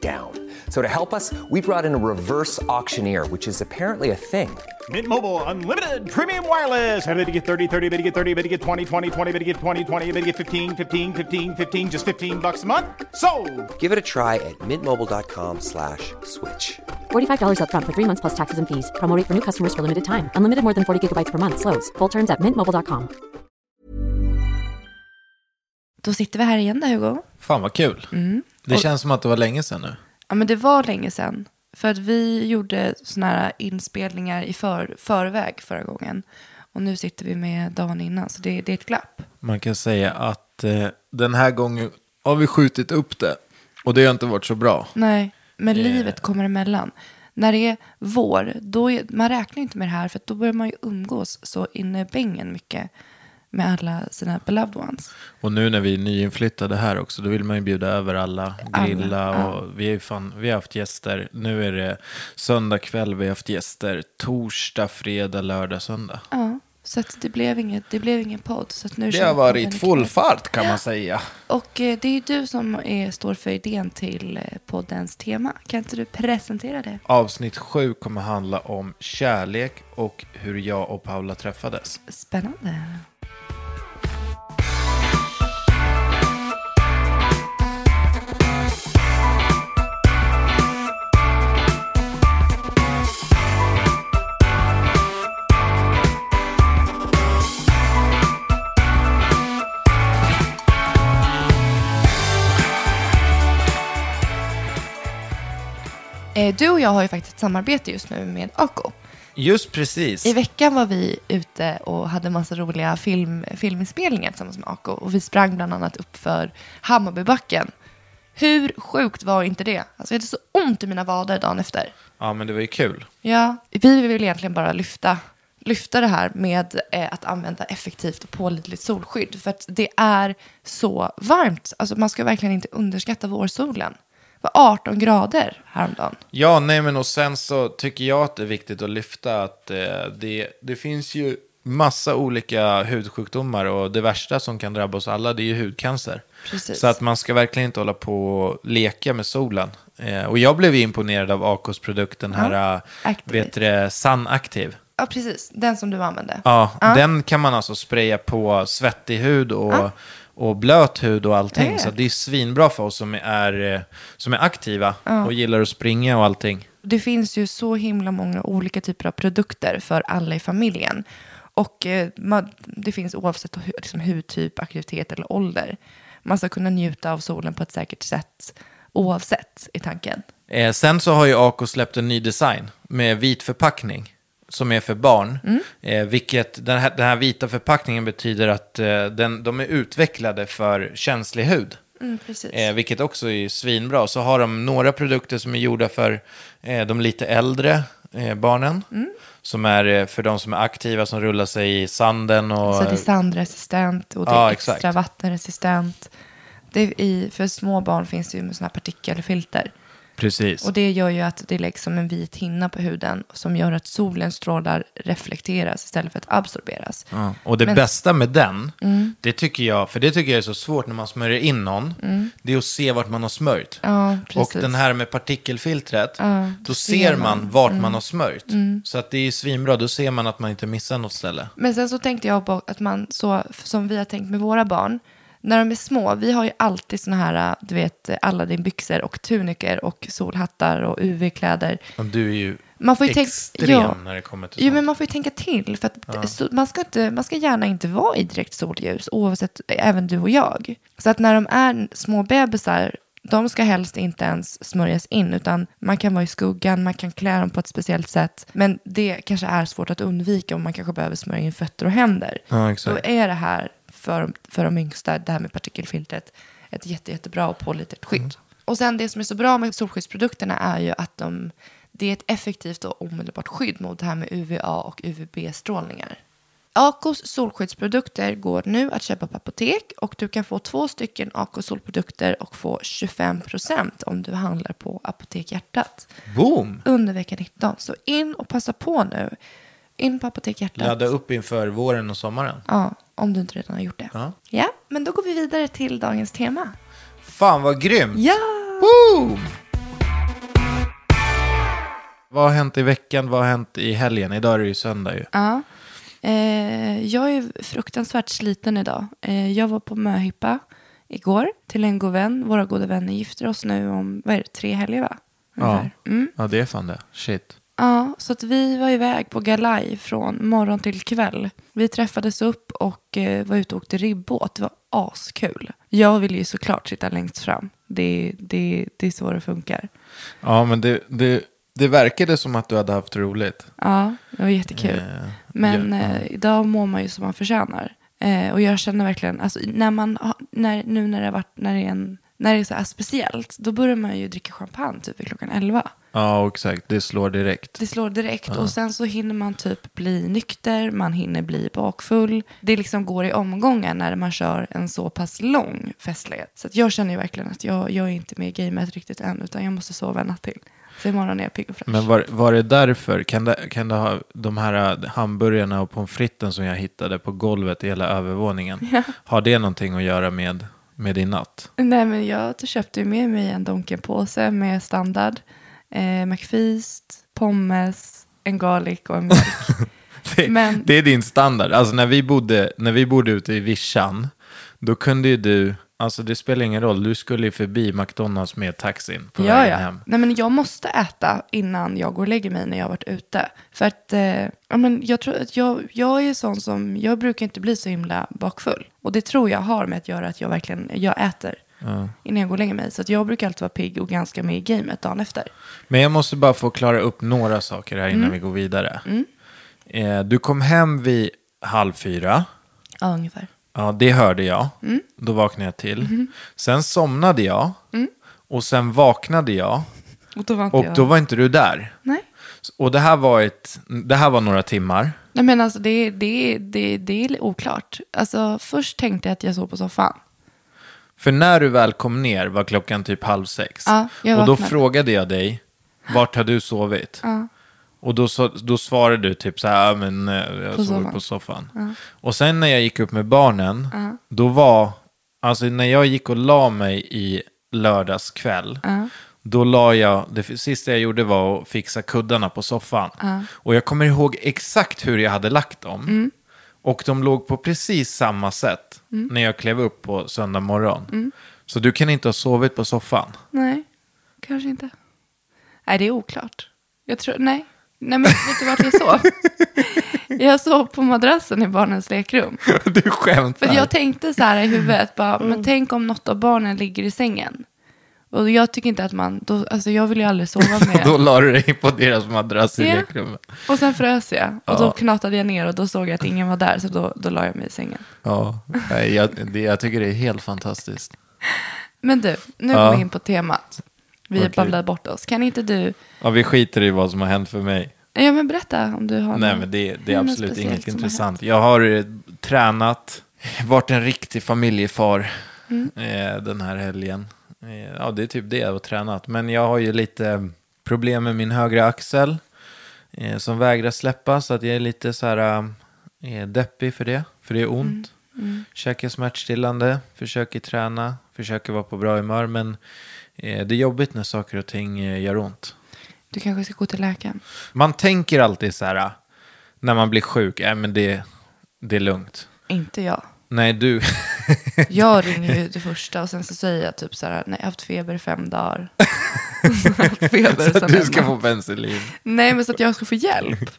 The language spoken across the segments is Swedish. down. So to help us, we brought in a reverse auctioneer, which is apparently a thing. Mint Mobile unlimited premium wireless. Ready to get 30, 30, bet you get 30, bet you get 20, 20, 20, bet you get 20, 20, bet you get 15, 15, 15, 15, just 15 bucks a month. So, Give it a try at mintmobile.com slash switch. $45 upfront for three months plus taxes and fees. Promo rate for new customers for limited time. Unlimited more than 40 gigabytes per month. Slows. Full terms at mintmobile.com. Då sitter vi här igen då, Hugo. Fan vad kul. Det känns som att det var länge sedan nu. Ja, men det var länge sedan. För att vi gjorde såna här inspelningar i för, förväg förra gången. Och nu sitter vi med dagen innan, så det, det är ett glapp. Man kan säga att eh, den här gången har vi skjutit upp det. Och det har inte varit så bra. Nej, men livet kommer emellan. När det är vår, då är, man räknar inte med det här, för att då börjar man ju umgås så inne i bängen mycket med alla sina beloved ones. Och nu när vi är nyinflyttade här också, då vill man ju bjuda över alla, grilla och vi, är ju fan, vi har haft gäster. Nu är det söndag kväll, vi har haft gäster torsdag, fredag, lördag, söndag. Ja, så att det, blev inget, det blev ingen podd. Så att nu Det känner har jag varit mig full knäckt. fart kan man säga. Och eh, det är ju du som är, står för idén till eh, poddens tema. Kan inte du presentera det? Avsnitt sju kommer handla om kärlek och hur jag och Paula träffades. Spännande. Eh, Du och jag har ju faktiskt ett samarbete just nu med Ako. Just precis. I veckan var vi ute och hade massa roliga film, filminspelningar tillsammans med Ako. Och vi sprang bland annat upp för Hammarbybacken. Hur sjukt var inte det? Alltså jag hade så ont i mina vader dagen efter. Ja, men det var ju kul. Ja, vi vill egentligen bara lyfta, lyfta det här med eh, att använda effektivt och pålitligt solskydd. För att det är så varmt. Alltså man ska verkligen inte underskatta vårsolen. Det var 18 grader häromdagen. Ja, nej men och sen så tycker jag att det är viktigt att lyfta att eh, det, det finns ju massa olika hudsjukdomar och det värsta som kan drabba oss alla det är ju hudcancer. Precis. Så att man ska verkligen inte hålla på och leka med solen. Eh, och jag blev ju imponerad av Akos produkt, den här, eh, Activate. vet du det, Sun Active. Ja, precis. Den som du använde. Ja, den kan man alltså spraya på svettig hud och, och blöt hud och allting. Ja, ja. Så det är svinbra för oss som är, eh, som är aktiva och gillar att springa och allting. Det finns ju så himla många olika typer av produkter för alla i familjen. Och eh, man, det finns oavsett hu- liksom, hudtyp, aktivitet eller ålder. Man ska kunna njuta av solen på ett säkert sätt oavsett i tanken. Eh, sen så har ju Ako släppt en ny design med vit förpackning som är för barn. Mm. Eh, vilket den här, den här vita förpackningen betyder att eh, den, de är utvecklade för känslig hud. precis. Eh, vilket också är svinbra. Så har de några produkter som är gjorda för eh, de lite äldre eh, barnen. Mm. Som är eh, för de som är aktiva, som rullar sig i sanden och... Så det är sandresistent och det är Ja, extra exakt. vattenresistent. Det är i, för små barn finns det ju med sådana här partikelfilter. Precis. Och det gör ju att det läggs som en vit hinna på huden som gör att solens strålar reflekteras istället för att absorberas. Ja, Och det Men- Mm. bästa med den, det tycker jag, för det tycker jag är så svårt när man smörjer in någon, det är att se vart man har smörjt. Mm. Ja, precis. och den här med partikelfiltret, ser då ser man. Mm. man vart man har smörjt. Så att det är svinbra, då ser man att man inte missar något ställe. Men sen så tänkte jag på att man så, som vi har tänkt med våra barn, när de är små, vi har ju alltid såna här, du vet, alla din byxor och tuniker och solhattar och UV-kläder. Och du är ju Man får ju tänka- extrem ja. när det kommer till Jo, sånt. men man får ju tänka till. För att så, man, ska inte, man ska gärna inte vara i direkt solljus, oavsett även du och jag. Så att när de är små bebisar, de ska helst inte ens smörjas in, utan man kan vara i skuggan, man kan klä dem på ett speciellt sätt. Men det kanske är svårt att undvika om man kanske behöver smörja in fötter och händer. Ja, Då exakt. är det här för, för de yngsta, det här med partikelfiltret, ett jätte, jättebra och pålitligt skydd. Mm. Och sen det som är så bra med solskyddsprodukterna är ju att de, det är ett effektivt och omedelbart skydd mot det här med UVA och UVB-strålningar. Acos solskyddsprodukter går nu att köpa på apotek och du kan få två stycken Acos solprodukter och få 25% om du handlar på Apotek Hjärtat Boom! under vecka 19. Så in och passa på nu. In på Apotek Hjärtat. Ladda upp inför våren och sommaren. Ja, om du inte redan har gjort det. Ja. ja, men då går vi vidare till dagens tema. Fan vad grymt! Ja! Boom! Vad har hänt i veckan? Vad har hänt i helgen? Idag är det ju söndag ju. ja. Eh, jag är fruktansvärt sliten idag. Eh, jag var på möhippa igår till en god vän. Våra goda vänner gifter oss nu om, vad är det, tre helger va? Ungefär. Mm. ja, det är fan det. Shit. Ja, så att vi var iväg på galaj från morgon till kväll. Vi träffades upp och eh, var ute och åkte ribbåt. Det var askul. Jag ville ju såklart sitta längst fram. Det, det, det är så det funkar. Ja, men det, det, det verkade som att du hade haft roligt. Ja, det var jättekul. Eh, Men ja, ja. eh, idag mår man ju som man förtjänar. Eh, och jag känner verkligen, alltså, när man, har- när, nu när det, har varit, när, det är en, när det är så här speciellt, då börjar man ju dricka champagne typ vid klockan 11. Ja, exakt. Det slår direkt. Det slår direkt och sen så hinner man typ bli nykter, man hinner bli bakfull. Det liksom går i omgångar när man kör en så pass lång festlighet. Så att jag känner ju verkligen att jag, jag är inte med i gamet riktigt än, utan jag måste sova en natt till. Så imorgon är jag pigg och fräsch. Men var, var det därför? Kan det, kan det ha de här eh, hamburgarna och pommes fritesen som jag hittade på golvet i hela övervåningen? Har det någonting att göra med, med din natt? Nej, men jag köpte ju med mig en Donken-påse med standard, eh, McFeast, pommes, en garlic och en mjölk. Det, Men- det är din standard. Alltså när vi bodde, när vi bodde ute i Vischan, då kunde ju du, alltså det spelar ingen roll, du skulle ju förbi McDonalds med taxin på ja, vägen ja. hem. Nej, men jag måste äta innan jag går och lägger mig när jag har varit ute. För att eh, ja, men jag tror att jag, jag är sån som, jag brukar inte bli så himla bakfull. Och det tror jag har med att göra att jag verkligen, jag äter. Innan jag går och lägger mig. Så att jag brukar alltid vara pigg och ganska med i gamet dagen efter. Men jag måste bara få klara upp några saker här Mm. innan vi går vidare. Eh, du kom hem vid halv fyra. Ja, ungefär. Ja, det hörde jag. Mm. Då vaknade jag till. Mm-hmm. Sen somnade jag. Och sen vaknade jag. Och då var inte Och Mm. jag... då var inte du där. Nej. Och det här var, ett, det här var några timmar. Nej men alltså det, det, det, det är oklart. Alltså först tänkte jag att jag sov på soffan. För när du väl kom ner var klockan typ halv sex. Ja, jag och då vaknade. frågade jag dig, vart har du sovit? Och då, så, då svarade du typ så här, "Ja, men eh, jag På sov soffan." på soffan. Och sen när jag gick upp med barnen, då var, alltså när jag gick och la mig i lördags kväll, då la jag, det f- sista jag gjorde var att fixa kuddarna på soffan. Och jag kommer ihåg exakt hur jag hade lagt dem. Mm. Och de låg på precis samma sätt när jag klev upp på söndag morgon. Mm. Så du kan inte ha sovit på soffan. Nej, kanske inte. Nej det är oklart. Jag tror, nej. Nej men vet du vart jag sov? jag sov på madrassen i barnens lekrum. du skämtar. För jag tänkte så här i huvudet, bara, men tänk om något av barnen ligger i sängen. Och jag tycker inte att man, då, alltså jag vill ju aldrig sova med. Då la du dig på deras madrass i Ja. lekrummet. Och sen frös jag. Och då knatade jag ner och då såg jag att ingen var där. Så då, då la jag mig i sängen. Ja, nej, jag, det, jag tycker det är helt fantastiskt. Men du, nu Ja. går vi in på temat. Vi Okej. babblar bort oss. Kan inte du... Ja, vi skiter i vad som har hänt för mig. Ja, men berätta om du har Nej, någon- men det, det är något absolut speciellt inget som har intressant. Jag har eh, tränat, varit en riktig familjefar Mm. eh, den här helgen. Eh, ja, det är typ det jag har tränat. Men jag har ju lite eh, problem med min högra axel eh, som vägrar släppa. Så att jag är lite så här eh, deppig för det, för det är ont. Mm, Käkar smärtstillande, försöker träna, försöker vara på bra humör. Men eh, det är jobbigt när saker och ting eh, gör ont. Du kanske ska gå till läkaren. Man tänker alltid så här, när man blir sjuk, äh, men äh, det, det är lugnt. Inte jag. Nej, du. Jag ringer ju det första och sen så säger jag typ så här, nej jag har haft feber i fem dagar. feber Så sen du ska hemma. få penicillin. Nej, men så att jag ska få hjälp.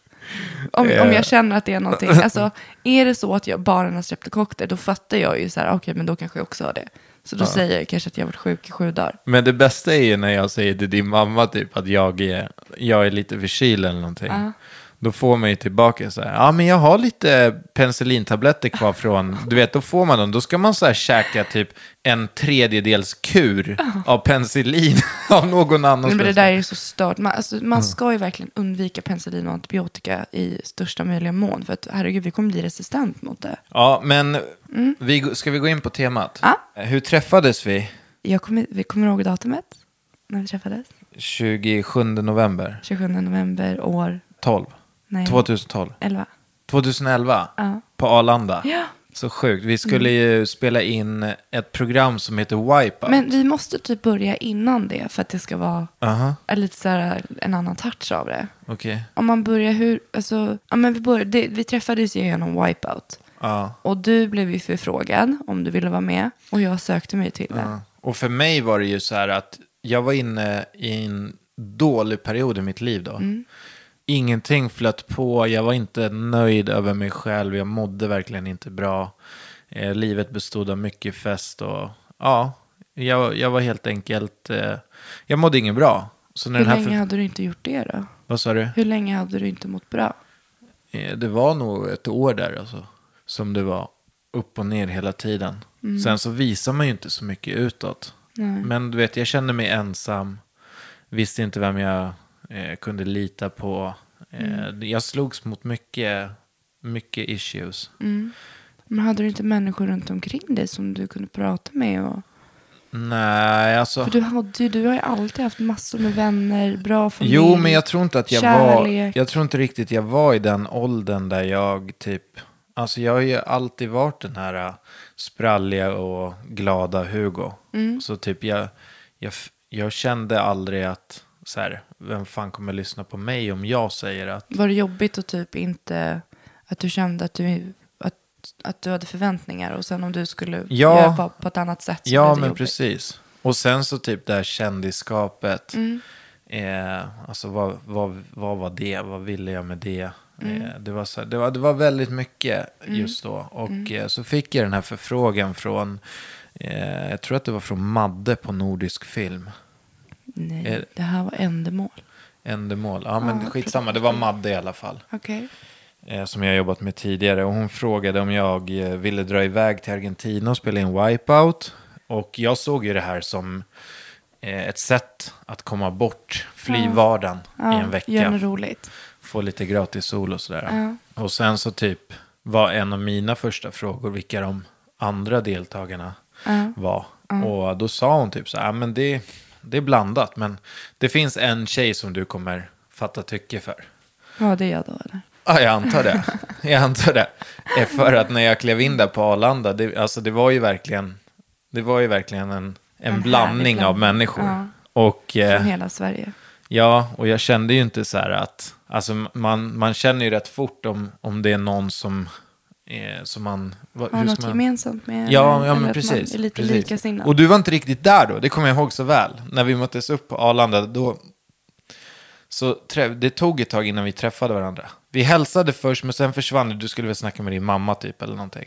Om, om Eh. jag känner att det är någonting. Alltså, är det så att jag bara har streptokokter, då fattar jag ju så här, okej, men då kanske jag också har det. Så då säger jag ju kanske att jag har varit sjuk i sju dagar. Men det bästa är ju när jag säger till din mamma typ att jag är, jag är lite förkyld eller någonting. Då får man ju tillbaka så här, ja men jag har lite penicillintabletter kvar från, du vet då får man dem, då ska man så här käka typ en tredjedels kur av penicillin av någon annans Nej, men det penicillin. där är så stört. Man, alltså, man ska ju verkligen undvika penicillin och antibiotika i största möjliga mån. För att herregud, vi kommer bli resistent mot det. Ja men vi, g- ska vi gå in på temat? Mm. Ja. Hur träffades vi? Jag kommer, vi kommer ihåg datumet när vi träffades. 27 november 27 november år 12, Nej. 2012, 11. 2011 Ja. på Arlanda. Ja. Mm. Så sjukt. Vi skulle ju spela in ett program som heter Wipeout. Men vi måste typ börja innan det för att det ska vara Aha, är lite så här, en annan touch av det. okej. Om man börjar hur, alltså, ja men vi, började, det, vi träffades ju genom Wipeout. Ja. Och du blev ju förfrågad om du ville vara med. Och jag sökte mig till det. Och för mig var det ju så här att jag var inne i en dålig period i mitt liv då. Mm. Ingenting flöt på, jag var inte nöjd över mig själv, jag mådde verkligen inte bra. Eh, livet bestod av mycket fest och ja, jag, jag var helt enkelt, eh, jag mådde inget bra. Så när Hur den här länge för- hade du inte gjort det då? Vad sa du? Hur länge hade du inte mått bra? Eh, Det var nog ett år där alltså, som det var upp och ner hela tiden. Mm. Sen så visar man ju inte så mycket utåt. Men du vet, jag kände mig ensam, visste inte vem jag eh, kunde lita på. Eh, Mm. Jag slogs mot mycket, mycket issues. Mm. Men hade du inte människor runt omkring dig som du kunde prata med? Och, Nej, alltså. för du, hade, ju- du har ju alltid haft massor med vänner, bra familj. Jo, men jag tror inte att jag kärlek. var... Jag tror inte riktigt jag var i den åldern där jag typ... Alltså jag har ju alltid varit den här äh, spralliga och glada Hugo. Så typ jag, jag, f- jag kände aldrig att så här, vem fan kommer lyssna på mig om jag säger att Var det jobbigt att typ inte, att du kände att du, att, att du hade förväntningar och sen om du skulle Ja. göra på, på ett annat sätt så Ja, blev det men jobbigt. precis. Och sen så typ det här kändisskapet. Eh, alltså vad, vad, vad var det? Vad ville jag med det? Eh, det, var så här, det, var, det var väldigt mycket just då. Och eh, så fick jag den här förfrågan från, eh, jag tror att det var från Madde på Nordisk Film. Nej, Eh, det här var ändamål. Ändemål. Ja, men skitsamma. Det var Madde i alla fall. Okej. eh, som jag jobbat med tidigare. Och hon frågade om jag eh, ville dra iväg till Argentina och spela in Wipeout. Och jag såg ju det här som eh, ett sätt att komma bort, fly vardagen i en vecka. Gör något roligt. Få lite gratis sol och sådär. Och sen så typ var en av mina första frågor vilka de andra deltagarna var. Och då sa hon typ så här, "Ja, men det, det är blandat, men det finns en tjej som du kommer fatta tycke för. Ja, det är jag då eller? Ja, jag antar det. Jag antar det. Eh, För att när jag klev in där på Arlanda, det, alltså det var ju verkligen, det var ju verkligen en, en, härlig blandning av blandning. människor. Ja. Och, Från eh, hela Sverige. ja, och jag kände ju inte så här att, alltså man, man känner ju rätt fort om, om det är någon som, eh, som man, vad, Har hur något ska man... gemensamt med Ja, Eh, eller ja att men man precis. Är lite precis. likasinnad. Och du var inte riktigt där då, det kommer jag ihåg så väl. När vi möttes upp på Arlanda, då... Så trä- det tog ett tag innan vi träffade varandra. Vi hälsade först, men sen försvann du. Du skulle väl snacka med din mamma typ, eller någonting.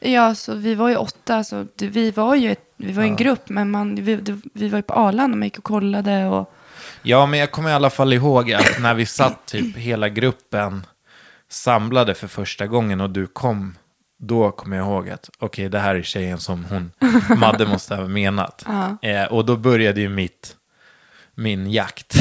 Ja, så vi var ju åtta, så det, vi var ju ett, vi var ju en grupp, men man, vi, det, vi var ju på Arlanda, man gick och kollade och Ja, men jag kommer i alla fall ihåg att när vi satt typ hela gruppen samlade för första gången och du kom, då kommer jag ihåg att okej, det här är tjejen som hon, Madde måste ha menat. Eh, och då började ju mitt, min jakt.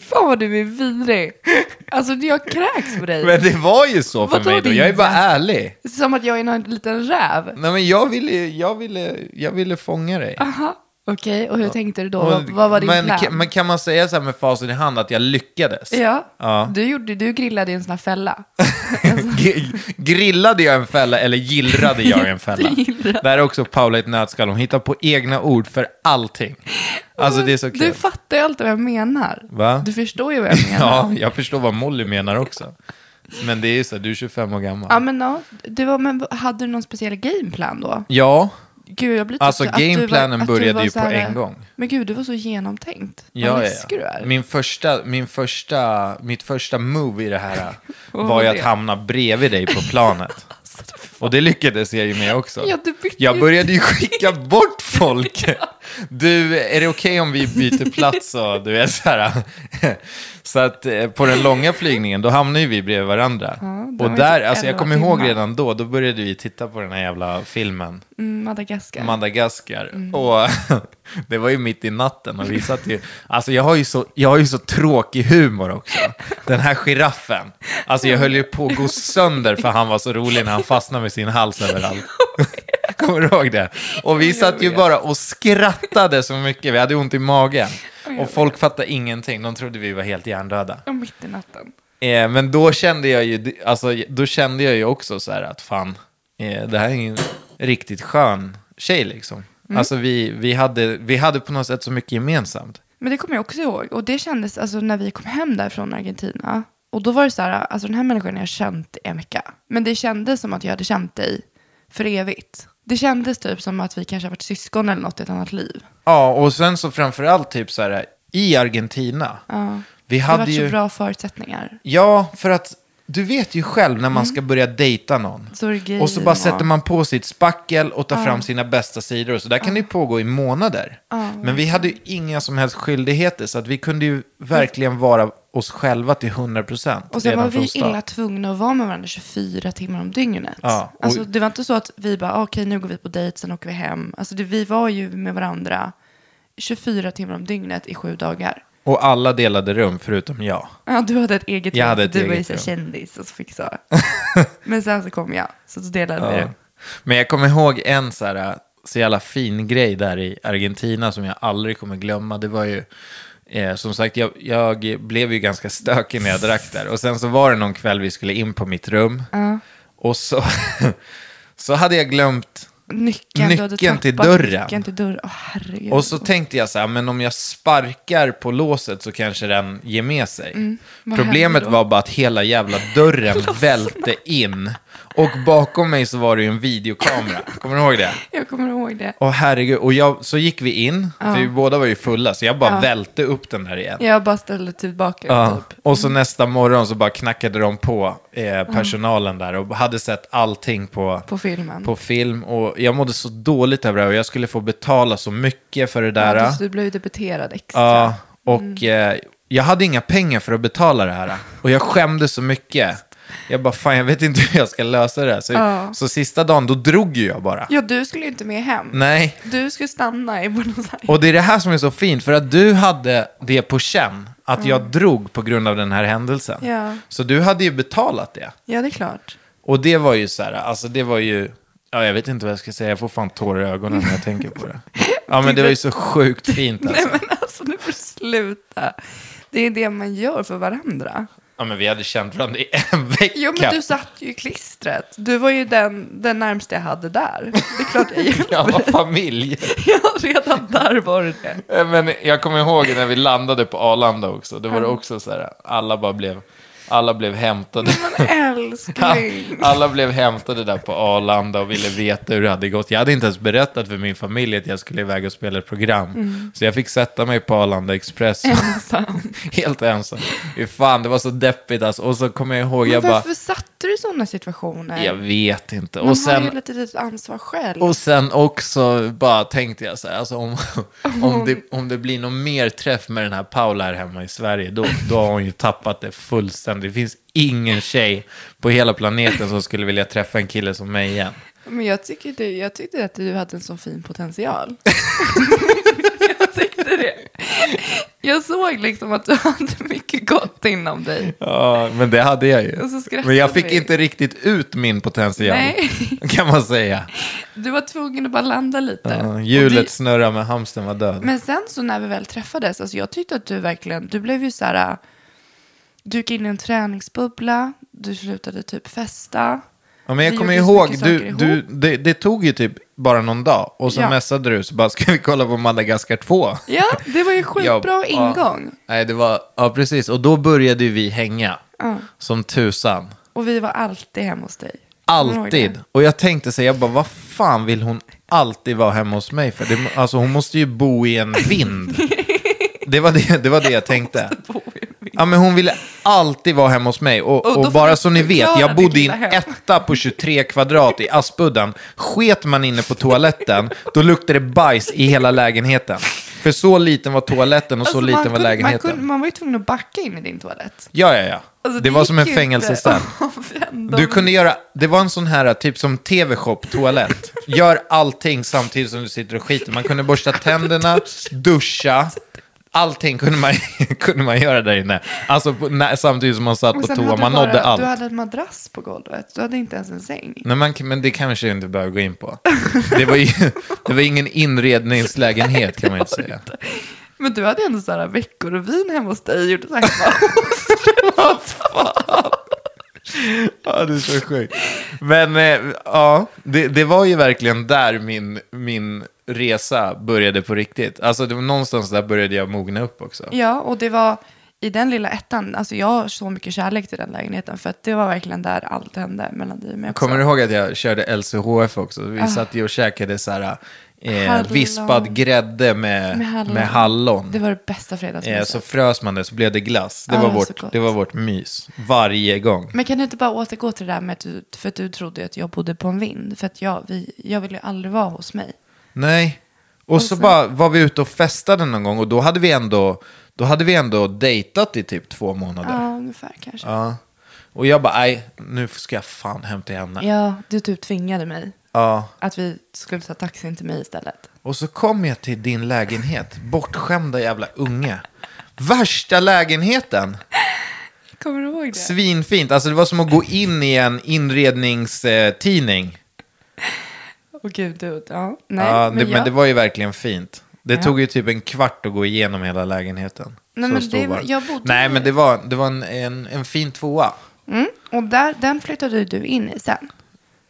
Fan vad du är vidrig. Alltså jag kräks på dig. Men det var ju så för Vadå mig då, din jag är bara jakt? ärlig. Som att jag är en liten räv. Nej men jag ville, jag ville, jag ville fånga dig. Aha. Okej, och hur tänkte du då? Och- vad, vad var din men, plan? Kan, men kan man säga så här med facit i hand att jag lyckades? ja, Ja. Du, gjorde, du grillade i en sån här fälla. alltså. G- grillade jag en fälla eller gillrade jag en fälla? Gillrade. Där är också Paula ett nötskall, hon hittar på egna ord för allting. Alltså det är så kul. Du fattar ju alltid vad jag menar. Va? Du förstår ju vad jag menar. Ja, jag förstår vad Molly menar också. Men det är ju så, här, du är 25 år gammal. Ja, men ja. Du, var- men hade du någon speciell gameplan då? Ja, Gud, jag blir typ Alltså, så- att du var- gameplanen att du började var ju så på här- en gång. Men gud, du var så genomtänkt. Vad ja, ja, läskig du ja. är. Min första, min första, mitt första move i det här Vad var var ju att det? Alltså, hamna bredvid dig på planet. Och det lyckades jag ju med också. Ja, du bytte jag ju- började ju skicka bort folk. Du, är det okej om vi byter plats? Och, du vet, så, här. så att eh, på den långa flygningen, då hamnar ju vi bredvid varandra. det var och ju där, typ alltså jag elva kommer ihåg timmar. redan då, då började vi titta på den här jävla filmen. Mm, Madagaskar. Madagaskar. Och det var ju mitt i natten och vi satt ju, alltså jag har ju så, jag har ju så tråkig humor också. Den här giraffen, alltså jag höll ju på att gå sönder för han var så rolig när han fastnade med sin hals överallt. Kommer du ihåg det? Och vi satt ju bara och skrattade så mycket, vi hade ont i magen. Och folk fattade ingenting, de trodde vi var helt hjärndöda. Ja, mitt i natten. Eh, men då kände jag ju, alltså, då kände jag ju också så här att fan, eh, det här är en riktigt skön tjej liksom. Mm. Alltså vi, vi, hade, vi hade på något sätt så mycket gemensamt. Men det kommer jag också ihåg. Och det kändes, alltså när vi kom hem där från Argentina. Och då var det så här, alltså den här människan har jag känt i en vecka. Men det kändes som att jag hade känt dig för evigt. Det kändes typ som att vi kanske har varit syskon eller något i ett annat liv. Ja, och sen så framförallt typ så här i Argentina. Vi Det har hade varit ju, så bra förutsättningar. ja för att du vet ju själv när man ska börja dejta någon. Mm. Så är det gay och så bara och- sätter man på sitt spackel och tar fram sina bästa sidor. Och så där kan det ju pågå i månader. Men vi hade ju inga som helst skyldigheter. Så att vi kunde ju verkligen vara oss själva till 100 procent. Och sen var vi illa tvungna att vara med varandra 24 timmar om dygnet. Ja, och- Alltså det var inte så att vi bara, "Ah, okej nu går vi på dejt, sen åker vi hem. Alltså det, vi var ju med varandra 24 timmar om dygnet i sju dagar. Och alla delade rum förutom jag. Ja, du hade ett eget Jag rum, hade för ett du var ju eget så här rum. kändis och så fick så. Men sen så kom jag, så, så delade vi Ja. det. Men jag kommer ihåg en så här äh, så jävla fin grej där i Argentina som jag aldrig kommer glömma. Det var ju, eh, som sagt, jag, jag blev ju ganska stökig när jag drack där. Och sen så var det någon kväll vi skulle in på mitt rum. Och så, så hade jag glömt Nyckeln, du hade Nyckeln tappat till dörren. nyckeln till dörren. Åh, herregud. Och så tänkte jag så här, men om jag sparkar på låset så kanske den ger med sig. Mm, vad Problemet händer då? var bara att hela jävla dörren välte in. Och bakom mig så var det ju en videokamera. Kommer du ihåg det? Jag kommer ihåg det. Åh herregud. Och jag, så gick vi in, för vi båda var ju fulla, så jag bara välte upp den där igen. Jag bara ställde tillbaka Ja. typ. Och så nästa morgon så bara knackade de på eh, personalen där och hade sett allting på, På filmen. på film. Och jag mådde så dåligt över det här och jag skulle få betala så mycket för det Ja, där. du, Mm. du blev ju debiterad extra. Ja, och eh, jag hade inga pengar för att betala det här. Och jag skämdes så mycket. Jag bara, fan jag vet inte hur jag ska lösa det här. Så, så sista dagen, då drog ju jag bara. Ja, du skulle ju inte med hem. Nej. Du skulle stanna i Buenos Aires. Och det är det här som är så fint, för att du hade det på känn, att jag drog på grund av den här händelsen. Mm. Ja. Så du hade ju betalat det. Ja, det är klart. Och det var ju så här, alltså det var ju, ja jag vet inte vad jag ska säga, jag får fan tårar i ögonen när jag tänker på det. Ja men det var ju så sjukt fint alltså. Typ Nej, men alltså nu får du sluta. Det är det man gör för varandra. Ja men vi hade känt varandra i en vecka. Jo, men du satt ju i klistret. Du var ju den, den närmsta jag hade där. Det är klart jag hjälpte Jag var dig. familj. Ja, redan där var du det. Eh, Men jag kommer ihåg när vi landade på Arlanda också. Det var det också så här, alla bara blev, alla blev hämtade. Men älskling. Alla blev hämtade där på Arlanda och ville veta hur det hade gått. Jag hade inte ens berättat för min familj att jag skulle iväg och spela ett program. Mm. Så jag fick sätta mig på Arlanda Express. Ensam. Helt ensam. Fy Fan, det var så deppigt alltså. Och så kommer jag ihåg, Men jag bara, varför satte du i sådana situationer? jag vet inte. Man Och har ju sen, lite litet ansvar själv. Och sen också bara tänkte jag så här, alltså om, om, det, om det blir någon mer träff med den här Paula här hemma i Sverige, då, då har hon ju tappat det fullständigt. Det finns ingen tjej på hela planeten som skulle vilja träffa en kille som mig igen. Men jag, tycker det, jag tyckte att du hade en sån fin potential. jag tyckte det. Jag såg liksom att du hade mycket gott inom dig. Ja, men det hade jag ju. Och så skrattade Men jag fick vi. inte riktigt ut min potential, Nej. kan man säga. Du var tvungen att bara landa lite. Ja, Och hjulet det- snurrar men hamsten var död. Men sen så när vi väl träffades, alltså jag tyckte att du verkligen, du blev ju så här, du gick in i en träningsbubbla, du slutade typ festa. Ja, men jag Vi kommer gjorde så ihåg, mycket du, saker du, ihop. det, det tog ju typ bara någon dag och så Ja. messade du så bara, ska vi kolla på Madagaskar 2? Ja, det var ju skitbra ja. ingång. Nej, det var, ja precis. Och då började ju vi hänga. Som tusan. Och vi var alltid hemma hos dig. Kommer du ihåg Alltid. Och jag tänkte så här, jag bara, vad fan vill hon alltid vara hemma hos mig för? Det, alltså hon måste ju bo i en vind. Det var det, det, var det jag tänkte. det? Bo i en vind. Ja, men hon ville alltid vara hemma hos mig. Och, Och då får och, du bara så ni vet, förklara jag bodde i ditt en lilla hem. etta på 23 kvadrat i Aspudden. Sket man inne på toaletten, då luktade det bajs i hela lägenheten. För så liten var toaletten och så Alltså, man liten var kunde- lägenheten. Man, kunde, man var ju tvungen att backa in i din toalett. Ja, ja, ja. Alltså, det, var som en gick ju fängelsestall. inte att vända Du om. kunde göra, det var en sån här typ som tv-shop, toalett. Gör allting samtidigt som du sitter och skiter. Man kunde borsta tänderna, duscha. Allting kunde man, kunde man göra där inne. Alltså på, när, samtidigt som man satt Men på sen toa. hade du Man bara- nådde allt. Du hade en madrass på golvet. Du hade inte ens en säng. Nej, man, kan- men det kanske jag inte behöver gå in på. Det var, ju, det var ingen inredningslägenhet kan man ju inte säga. Men du hade ändå sådana veckorevyn hemma hos dig. Gjorde så här, Ja, det är så sjukt. Men eh, ja, det, det var ju verkligen där min, min resa började på riktigt. Alltså det var någonstans där började jag mogna upp också. Ja, och det var i den lilla ettan, alltså jag har så mycket kärlek till den lägenheten för att det var verkligen där allt hände mellan dig och mig också. Kommer du ihåg att jag körde LCHF också? Vi satt ju och käkade så här, eh, Ah. Hallon. vispad grädde med, med hallon. Det var det bästa fredagsmyset. Eh, så frös man det så blev det glass. Det, Ah, var så vårt, gott. det var vårt mys varje gång. Men kan du inte bara återgå till det där med att du, för att du trodde ju att jag bodde på en vind, för att jag, vi, jag ville ju aldrig vara hos mig. Nej. Och så Alltså- bara var vi ute och festade någon gång och då hade vi ändå, då hade vi ändå dejtat i typ två månader. Ja, ungefär kanske. Ja. Ja. Och jag bara, nej, nu ska jag fan hem till henne. Ja. du typ tvingade mig att vi skulle ta taxin till mig istället. Och så kom jag till din lägenhet, bortskämda jävla unge. Värsta lägenheten, Kommer du ihåg det? svinfint. Alltså det var som att gå in i en inredningstidning. Åh gud, du, ja. Nej, Ja, men, det, men jag, det var ju verkligen fint. Det tog ju typ en kvart att gå igenom hela lägenheten. Nej, Så men stor det var var- den. jag bodde Nej, i- men det var, det var en, en, en fin tvåa. Och där, den flyttade ju du in i sen.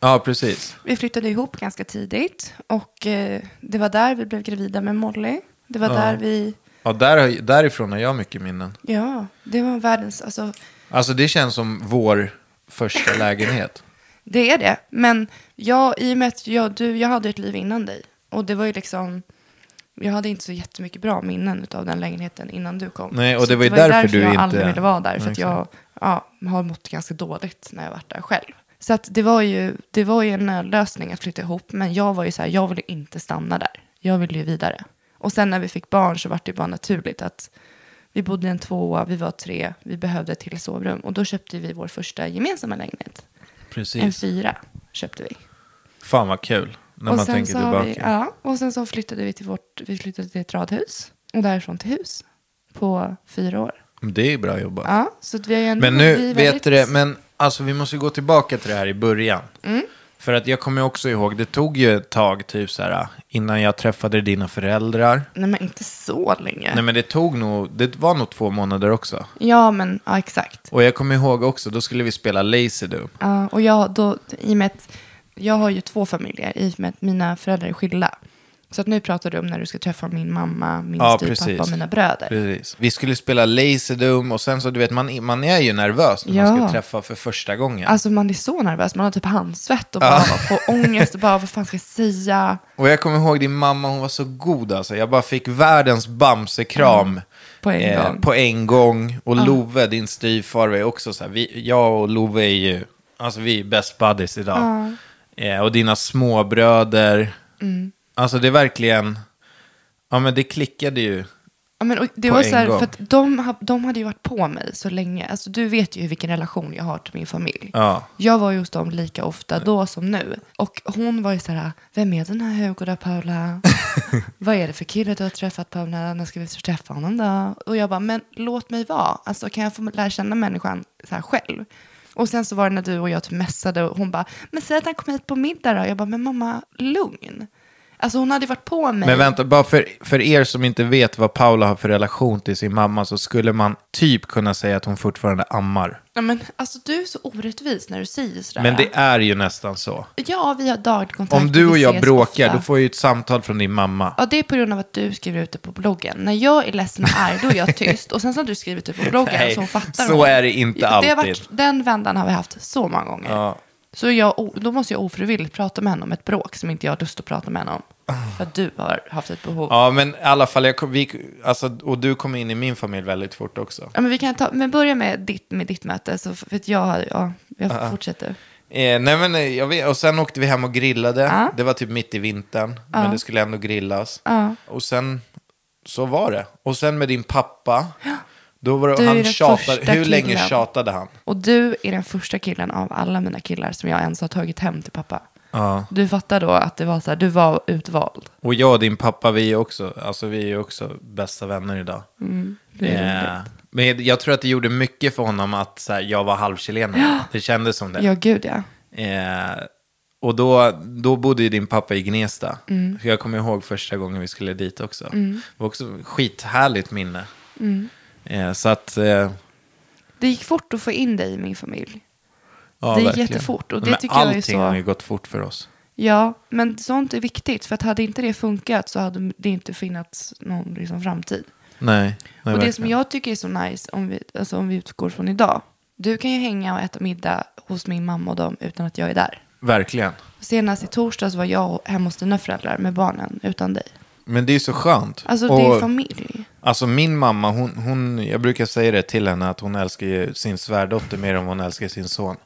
Ja, precis. Vi flyttade ihop ganska tidigt och eh, det var där vi blev gravida med Molly. Det var där vi, Ja, där, har- därifrån har jag mycket minnen. ja, det var världens, alltså Alltså det känns som vår första lägenhet. det är det. Men jag, i och med att jag, du, jag hade ett liv innan dig och det var ju liksom, jag hade inte så jättemycket bra minnen av den lägenheten innan du kom. Nej, och Så det var ju därför, därför du jag inte- aldrig ville vara där, för Nej, att jag ja, har mått ganska dåligt när jag varit där själv. Så att det, var ju, det var ju en nödlösning att flytta ihop, men jag var ju så här, jag ville inte stanna där. Jag ville ju vidare. Och sen när vi fick barn så var det ju bara naturligt att vi bodde i en tvåa, vi var tre, vi behövde ett till sovrum. Och då köpte vi vår första gemensamma lägenhet. Precis. En fyra köpte vi. Fan vad kul. När man tänker så har tillbaka. vi, ja, och sen så flyttade vi till, vårt, vi flyttade till ett radhus. Och därifrån till hus. På fyra år. Det är ju bra jobbat. Ja, så att vi har ju ändå... vi men nu, är vet väldigt- du det, men alltså vi måste ju gå tillbaka till det här i början. Mm. För att jag kommer också ihåg, det tog ju ett tag typ så här innan jag träffade dina föräldrar. Nej, men inte så länge. Nej men det tog nog, det var nog två månader också. Ja, men ja, exakt. Och jag kommer ihåg också, då skulle vi spela Lazy Doom. Ja, och jag, då, i och med att jag har ju två familjer, i och med att mina föräldrar är skilda. Så att nu pratar du om när du ska träffa min mamma, min Ja, styvpappa precis. och mina bröder. Precis. Vi skulle spela Lazy Doom och sen så, du vet, man, man är ju nervös när Ja. man ska träffa för första gången. Alltså man är så nervös, man har typ handsvett och bara får ångest och bara vad fan ska jag säga? Och jag kommer ihåg din mamma, hon var så god alltså. Jag bara fick världens Bamse-kram. Mm. eh, På en gång. Ah. på en gång. Och Love, din styvfar, var ju också så här. Vi, jag och Love är ju, alltså vi är best buddies idag. Ah. Eh, och dina småbröder. Mm. Alltså det är verkligen, ja men det klickade ju. Ja, men, och det På var en så här, gång. för att de, ha- de hade ju varit på mig så länge. Alltså, du vet ju vilken relation jag har till min familj. Ja. Jag var ju hos dem lika ofta då som nu. Och hon var ju så här, vem är den här Hugo då Paula? Vad är det för kille du har träffat Paula? När ska vi träffa honom då? Och jag bara, men låt mig vara. Alltså kan jag få lära känna människan så här själv? Och sen så var det när du och jag typ messade och hon bara, men säg att han kom hit på middag då. Jag bara, men mamma, lugn. Alltså hon hade varit på mig. Men vänta, bara för, för er som inte vet vad Paula har för relation till sin mamma så skulle man typ kunna säga att hon fortfarande ammar. Ja, men alltså du är så orättvis när du säger sådär. Men det är ju nästan så. Ja, vi har daglig kontakt. Om du och vi jag ses bråkar, ofta. då får jag ju ett samtal från din mamma. Ja, det är på grund av att du skriver ut det på bloggen. När jag är ledsen och arg, då är jag tyst. Och sen så har du skrivit det på bloggen, Nej, så hon fattar. så hon. är det inte Ja, har alltid. varit, den vändan har vi haft så många gånger. Ja. Så jag, o- då måste jag ofrivilligt prata med henne om ett bråk som inte jag har lust att prata med henne om. För att du har haft ett behov. Ja. Ah. Ja, men i alla fall, jag, kom- vi, alltså, och du kom in i min familj väldigt fort också. men vi kan ta, men börja med ditt, med ditt möte, så för att jag, har- ja, jag Ah, fortsätter. Eh, nej, men, eh, jag vet, och sen åkte vi hem och grillade. Ja. Det var typ mitt i vintern, men det skulle ändå grillas. Och sen, så var det. Och sen med din pappa, då var Du det, är han den tjatade, första hur länge killen. tjatade han? Och du är den första killen av alla mina killar som jag ens har tagit hem till pappa. Du fattar då att det var så här, du var utvald. Och jag och din pappa, vi är också, alltså, vi är ju också bästa vänner idag. Det är roligt. Eh, men jag tror att det gjorde mycket för honom att så här, jag var halvchilenare. Det kändes som det. Ja, gud ja. Eh, och då, då bodde ju din pappa i Gnesta. Mm. Så Jag kommer ihåg första gången vi skulle dit också. Det var också skithärligt minne. Mm. Eh, så att... Eh, ja, Det gick fort att få in dig i min familj. Det gick jättefort, och det Men tycker jag är allting så- har ju gått fort för oss. Ja, men sånt är viktigt. För att hade inte det funkat så hade det inte funnits någon liksom, framtid. Nej, nej och det verkligen. som jag tycker är så nice, om vi, alltså, om vi utgår från idag. Du kan ju hänga och äta middag hos min mamma och dem utan att jag är där. Verkligen. Senast i torsdags var jag hemma hos dina föräldrar med barnen utan dig. Men det är ju så skönt. Alltså det Och- är familj. Alltså min mamma, hon, hon, jag brukar säga det till henne att hon älskar ju sin svärdotter mer än vad hon älskar sin son.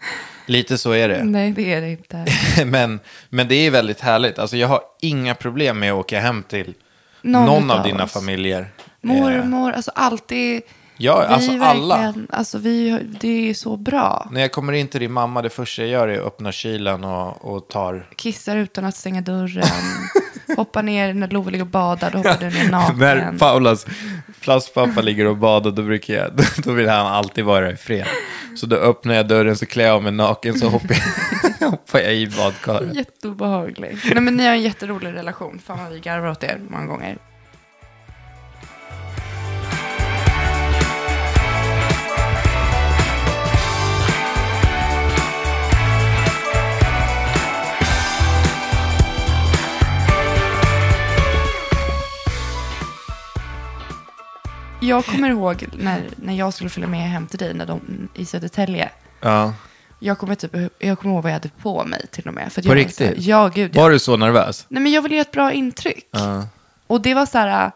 Lite så är det. Nej, det är det inte. men, men det är väldigt härligt. Alltså, jag har inga problem med att åka hem till någon, Någon av utav dina oss. familjer. Eh, Mormor, alltså alltid. Ja, vi alltså alla. verkligen- Alltså vi, det är så bra. När jag kommer in till din mamma, det första jag gör är att öppna kylen och, och tar... Kissar utan att stänga dörren. hoppar ner när Love ligger och badar, då hoppar du ner naken. Paulas plastpappa ligger och badar, då, brukar jag, då vill han alltid vara i fred. Så då öppnar jag dörren, så klär jag av mig naken, så hoppar jag, hoppar jag i badkaret. Jätteobehaglig. Nej men ni har en jätterolig relation. Fan vad vi garvar åt er många gånger. Jag kommer ihåg när, när jag skulle följa med hem till dig när de, i Södertälje. Ja. Jag kommer, typ, jag kommer ihåg vad jag hade på mig till och med. För att På jag var riktigt? så här- Ja, gud. ja. Var du så nervös? Nej, men jag ville göra ett bra intryck. Ja. Och det var så här,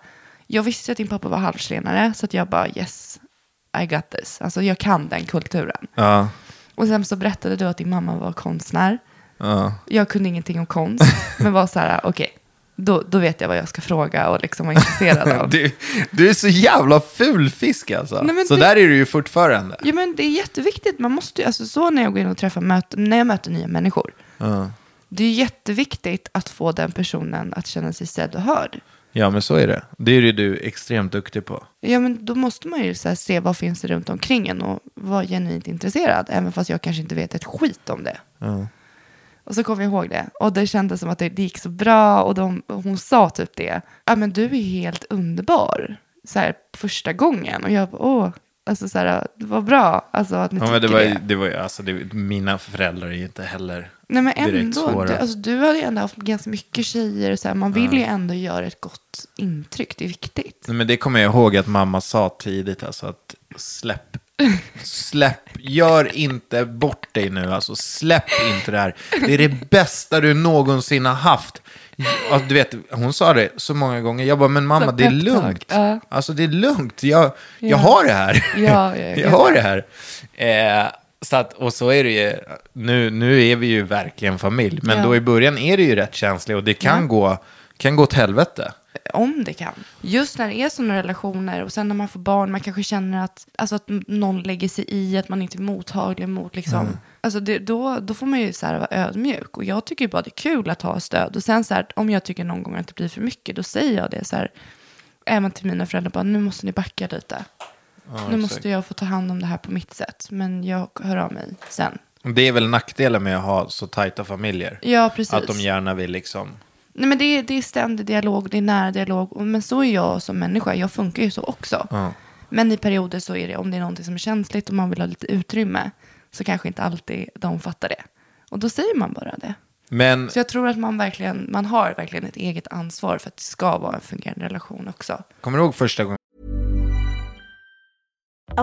jag visste att din pappa var halvchilenare, så att jag bara yes, I got this. Alltså jag kan den kulturen. Ja. Och sen så berättade du att din mamma var konstnär. ja. Jag kunde ingenting om konst, men var så här, okej, då, då vet jag vad jag ska fråga och liksom vara intresserad av. Du, du är så jävla ful fisk alltså. Nej, men så det- där är du ju fortfarande. Ja men det är jätteviktigt, man måste ju, alltså så när jag går in och träffar möten, när jag möter nya människor. Ja. Det är jätteviktigt att få den personen att känna sig sedd och hörd. ja, men så är det. Det är ju du extremt duktig på. Ja, men då måste man ju så här se vad finns det runt omkring en och vara genuint intresserad, även fast jag kanske inte vet ett skit om det. Och så kom jag ihåg det, och det kändes som att det, det gick så bra, och de, och hon sa typ det, ja men du är helt underbar, så här första gången, och jag bara, åh, alltså så här, det var bra, alltså att ni Ja, men tycker det det. var, ju- det var ju, alltså, det, mina föräldrar är ju inte heller Nej men direkt ändå, svåra. du, alltså, du har ju ändå haft ganska mycket tjejer, så här, man vill ju ändå göra ett gott intryck, det är viktigt. Nej, men det kommer jag ihåg att mamma sa tidigt, alltså att släpp. Släpp, gör inte bort dig nu, alltså släpp inte det här. Det är det bästa du någonsin har haft. Alltså, du vet, hon sa det så många gånger, jag bara, men mamma Så det är peptalk, lugnt. ja. Alltså det är lugnt, jag, jag Ja. har det här. Ja, ja, jag har det här. Eh, så att, och så är det ju, nu, nu är vi ju verkligen familj, men Ja. då i början är det ju rätt känsligt och det kan, gå, kan gå åt helvete. om det kan. Just när det är sådana relationer och sen när man får barn, man kanske känner att, alltså att m- någon lägger sig i, att man inte är mottaglig mot liksom. Alltså det, då, då får man ju så här vara ödmjuk och jag tycker ju bara det är kul att ha stöd. Och sen så här, om jag tycker någon gång att det blir för mycket, då säger jag det så här, även till mina föräldrar, bara nu måste ni backa lite. nu måste jag få ta hand om det här på mitt sätt, men jag hör av mig sen. Det är väl nackdelen med att ha så tajta familjer. Ja, precis. Att de gärna vill liksom Nej, men det, är, det är ständig dialog, det är nära dialog. Och- Men så är jag som människa, jag funkar ju så också. Ja. Men i perioder så är det, om det är någonting som är känsligt och man vill ha lite utrymme, så kanske inte alltid de fattar det. Och då säger man bara det. Men Så jag tror att man verkligen, man har verkligen ett eget ansvar för att det ska vara en fungerande relation också. kommer du ihåg första gången A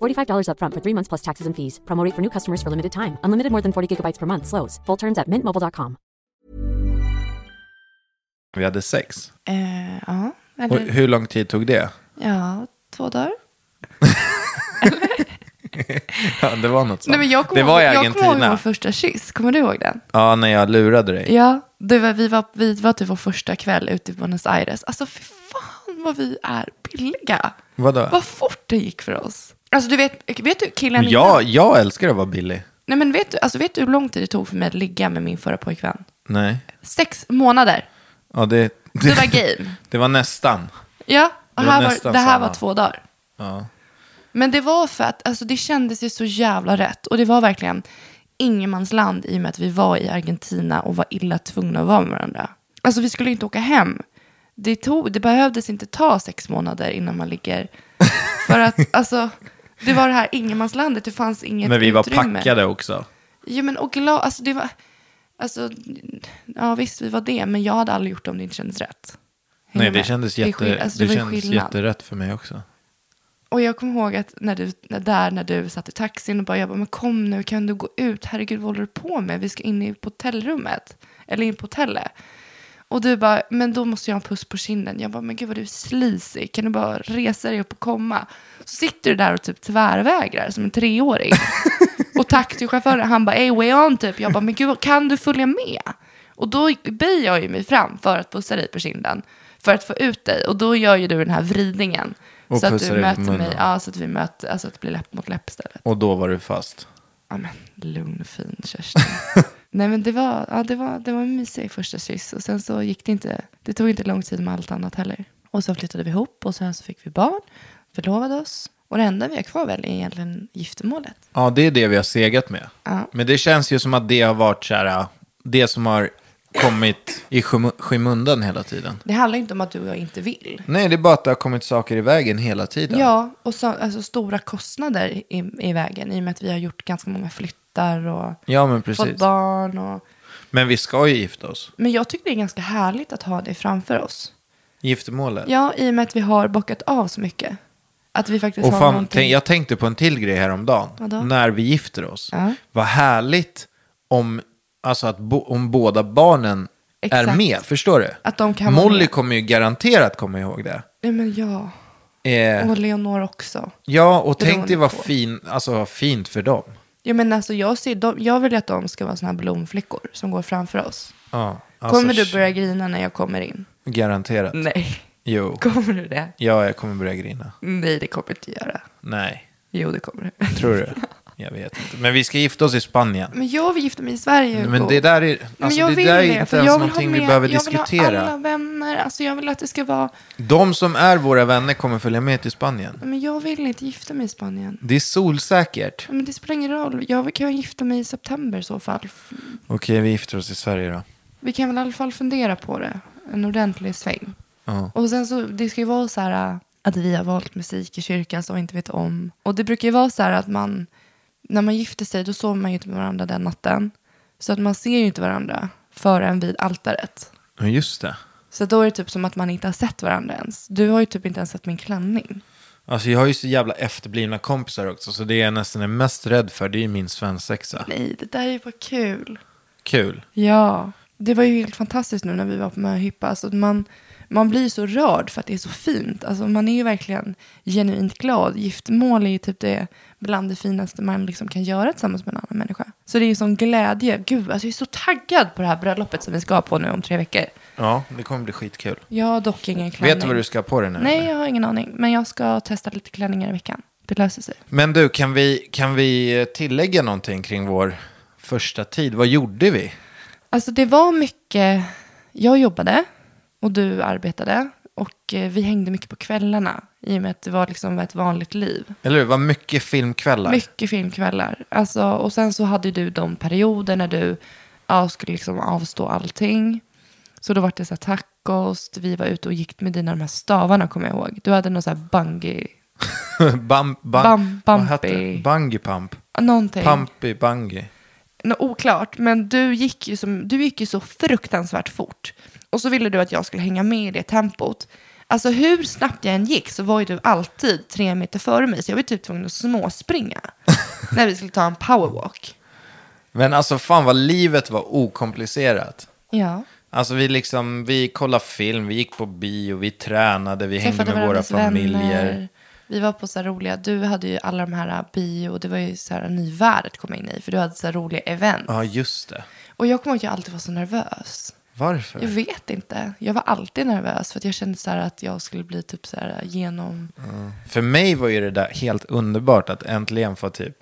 $45 upfront for three months plus taxes and fees. Promo rate for new customers for limited time. Unlimited more than 40 gigabytes per month. Slows. Full terms at mintmobile.com. vi hade sex? Eh, ja, Och eller, hur lång tid tog det? ja, två dagar. Ja, det var något sånt. Nej, men jag kommer det var i ihåg- jag kommer Argentina. ihåg vår första kyss, kommer du ihåg den? Ja, när jag lurade dig. Ja, det var, vi, var, vi var typ vår första kväll ute i Buenos Aires. Alltså fy fan vad vi är billiga. Vadå? Vad fort det gick för oss. Alltså du vet, vet du killen Jag, innan- jag älskar att vara billig. Nej men vet du, alltså, vet du hur lång tid det tog för mig att ligga med min förra pojkvän? Nej. Sex månader. Ja, det, det, Du var game. det var nästan. Ja, och Det var här var, nästan det här samma. var två dagar. Ja. Men det var för att alltså, det kändes ju så jävla rätt. Och det var verkligen ingenmansland i och med att vi var i Argentina och var illa tvungna att vara med varandra. Alltså vi skulle inte åka hem. Det, tog, det behövdes inte ta sex månader innan man ligger. För att alltså, det var det här ingenmanslandet, det fanns inget Men vi var utrymme. packade också. Ja men och glad, alltså det var, alltså, ja visst vi var det, men jag hade aldrig gjort det om det inte kändes rätt. Hänger Nej, det med? kändes, är jätte, skill- det alltså, var ju kändes skillnad. jätterätt för mig också. Och jag kommer ihåg att när du, när, där när du satt i taxin och bara, jag bara, men kom nu, kan du gå ut? Herregud, vad håller du på med? Vi ska in i på hotellrummet, eller in på hotellet. Och du bara, men då måste jag ha en puss på kinden. Jag bara, men gud vad du är slisig. Kan du bara resa dig upp och komma? Så sitter du där och typ tvärvägrar som en treåring. och taxichauffören, han bara, hey way on typ. Jag bara, men gud, vad- kan du följa med? Och då böjer jag ju mig fram för att pussa dig på kinden. För att få ut dig. Och då gör ju du den här vridningen. Och så att pussar du dig på möter munnen. mig, ja, så att vi möter, alltså att det blir läpp mot läpp istället. Och då var du fast. Ja men lugn fin Kerstin. Nej men det var, ja, det var, det var en mysig första kyss och sen så gick det inte, det tog inte lång tid med allt annat heller. Och så flyttade vi ihop och sen så fick vi barn, förlovade oss och det enda vi har kvar väl är egentligen giftermålet. Ja, det är det vi har segat med. Ja. Men det känns ju som att det har varit så här, äh, det som har kommit i skymu- skymundan hela tiden. Det handlar inte om att du och jag inte vill. Nej, det är bara att det har kommit saker i vägen hela tiden. Ja, och så, alltså, stora kostnader i, i vägen i och med att vi har gjort ganska många flyttar och Ja, men fått precis. barn och... Men vi ska ju gifta oss. Men jag tycker det är ganska härligt att ha det framför oss. Giftermålet. Ja, i och med att vi har bockat av så mycket. Att vi faktiskt Och har fan, någonting. tänk, jag tänkte på en till grej häromdagen. Vadå? När vi gifter oss. Ja. Vad härligt om, alltså att bo, om båda barnen är Exakt. med. Förstår du? Att de kan vara Molly med. kommer ju garanterat komma ihåg det. Nej, men ja. Eh, Och Leonor också. ja, och tänk beroende dig vad, på. fin, alltså, vad fint för dem. Ja, men alltså, jag, ser, de, jag vill ju att de ska vara såna här blomflickor som går framför oss. Ja, alltså, kommer du börja grina när jag kommer in? Garanterat. Nej. Jo. Kommer du det? Ja, jag kommer börja grina. Nej, det kommer jag inte göra. Nej. Jo, det kommer du. Tror du? Jag vet inte. Men vi ska gifta oss i Spanien. Men jag vill gifta mig i Sverige. Men Hugo. det där är, men alltså, jag det vill där är det, inte för ens jag vill ha någonting vi med- behöver Jag vill diskutera. ha alla vänner. Alltså jag vill att det ska vara... De som är våra vänner kommer följa med till Spanien. Men jag vill inte gifta mig i Spanien. Det är solsäkert. Men det spelar ingen roll. Jag kan ju gifta mig i september i så fall. Okej, vi gifter oss i Sverige då. Vi kan väl i alla fall fundera på det. En ordentlig sväng. Ja. Och sen så, det ska ju vara så här äh, att vi har valt musik i kyrkan som vi inte vet om. Och det brukar ju vara så här att man, när man gifter sig då sover man ju inte med varandra den natten. Så att man ser ju inte varandra förrän vid altaret. Ja, just det. Så då är det typ som att man inte har sett varandra ens. Du har ju typ inte ens sett min klänning. Alltså jag har ju så jävla efterblivna kompisar också, så det jag nästan är mest rädd för det är ju min svensexa. Nej, det där är ju bara kul. Kul. Ja, det var ju helt fantastiskt nu när vi var på Möhippa. Alltså att man, man blir så rörd för att det är så fint. Alltså man är ju verkligen genuint glad. Giftermål är ju typ det bland det finaste man liksom kan göra tillsammans med en annan människa. Så det är ju sån glädje. Gud, alltså jag är så taggad på det här bröllopet som vi ska på nu om tre veckor. Ja, det kommer bli skitkul. Jag har dock ingen klänning. Vet du vad du ska ha på dig nu? Nej, eller? jag har ingen aning. Men jag ska testa lite klänningar i veckan. Det löser sig. Men du, kan vi, kan vi eh, tillägga någonting kring vår första tid? Vad gjorde vi? Alltså det var mycket, jag jobbade och du arbetade och eh, vi hängde mycket på kvällarna i och med att det var liksom ett vanligt liv. Eller hur? Det var mycket filmkvällar. Mycket filmkvällar. Alltså, och sen så hade ju du de perioder när du ja, skulle liksom avstå allting. Så då var det så här tacos, vi var ute och gick med dina de här stavarna kommer jag ihåg. Du hade någon så här bungee, bam, bam, Bam- vad hette bumpy. det? Bungee pump. någonting. Pumpy bungee. Nå, oklart, men du gick, ju som, du gick ju så fruktansvärt fort. Och så ville du att jag skulle hänga med i det tempot. Alltså hur snabbt jag än gick så var ju du alltid tre meter före mig. Så jag var typ tvungen att småspringa när vi skulle ta en powerwalk. Men alltså fan vad livet var okomplicerat. Ja. Alltså vi liksom, vi kollade film, vi gick på bio, vi tränade, vi Träffade hängde med våra varandras familjer. vänner. Vi var på så här roliga, du hade ju alla de här äh, bio, det var ju så här en ny värld att komma in i. För du hade så här roliga event. Ja, just det. Och jag kommer ihåg att jag alltid var så nervös. Varför? Jag vet inte. Jag var alltid nervös för att jag kände så här att jag skulle bli typ så här genom... Mm. För mig var ju det där helt underbart att äntligen få typ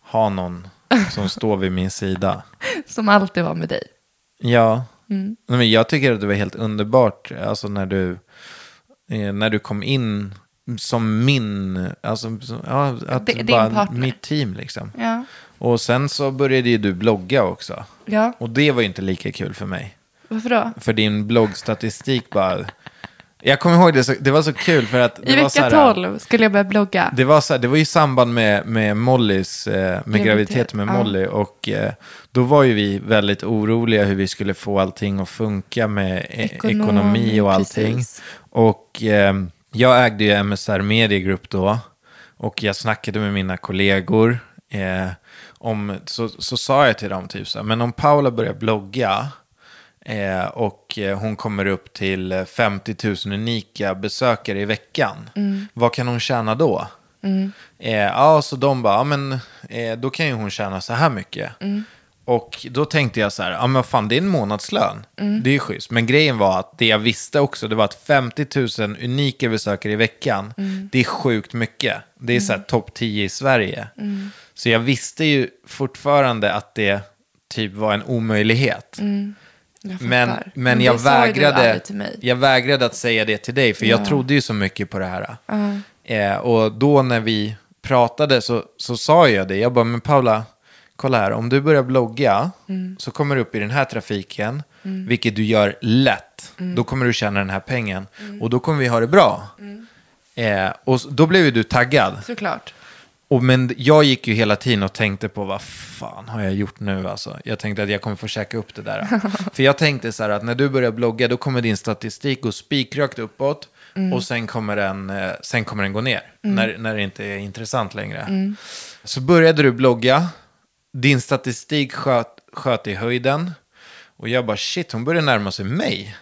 ha någon som står vid min sida. Som alltid var med dig. Ja, Mm. Nej, men jag tycker att det var helt underbart alltså när du, eh, när du kom in som min, alltså som- ja, att D- din bara, partner. mitt team liksom. Ja. Och sen så började ju du blogga också. Ja. Och det var ju inte lika kul för mig. Varför då? För din bloggstatistik bara... Jag kommer ihåg det, så, det var så kul för att... Det I var så vecka här, 12 skulle jag börja blogga. Det var, så här, det var ju i samband med, med Mollys, eh, med graviditeten med ja. Molly. Och eh, då var ju vi väldigt oroliga hur vi skulle få allting att funka med eh, Ekonomi, ekonomi och allting. precis. Och eh, jag ägde ju MSR Media Group då. Och jag snackade med mina kollegor. Eh, om, så, så sa jag till dem typ så här, men om Paula börjar blogga. Eh, och eh, hon kommer upp till eh, 50 000 unika besökare i veckan. Mm. Vad kan hon tjäna då? Eh, ja, så de bara, ja, men eh, då kan ju hon tjäna så här mycket. Och då tänkte jag så här, ja men fan det är en månadslön. Det är ju schysst. Men grejen var att det jag visste också, det var att 50 000 unika besökare i veckan, det är sjukt mycket. Det är så här topp 10 i Sverige. Så jag visste ju fortfarande att det typ var en omöjlighet. Jag fattar. Men, men det jag, sa ju du vägrade, aldrig till mig. jag vägrade att säga det till dig, för jag trodde ju så mycket på det här. Eh, och då när vi pratade så, så sa jag det, jag bara, men Paula, kolla här, om du börjar blogga Mm. så kommer du upp i den här trafiken, vilket du gör lätt, Mm. då kommer du tjäna den här pengen och då kommer vi ha det bra. Mm. Eh, och s- då blev ju du taggad. Såklart. Och, men jag gick ju hela tiden och tänkte på vad fan har jag gjort nu alltså? Jag tänkte att jag kommer få käka upp det där. För jag tänkte så här att när du börjar blogga då kommer din statistik gå spikrakt uppåt och sen kommer den, eh, sen kommer den gå ner när, när det inte är intressant längre. Så började du blogga, din statistik sköt, sköt i höjden och jag bara shit hon börjar närma sig mig.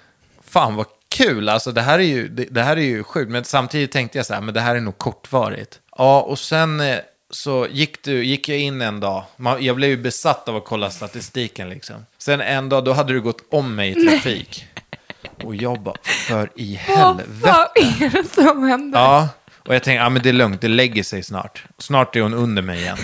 Fan vad kul, alltså det här är ju, det, det här är ju sjukt. Men samtidigt tänkte jag så här, men det här är nog kortvarigt. Ja, och sen eh, så gick, du, gick jag in en dag. Man, jag blev ju besatt av att kolla statistiken liksom. Sen en dag, då hade du gått om mig i trafik. Och jag bara, för i Vad helvete. fan är det som händer? Ja, och jag tänkte, ja men det är lugnt, det lägger sig snart. Snart är hon under mig igen.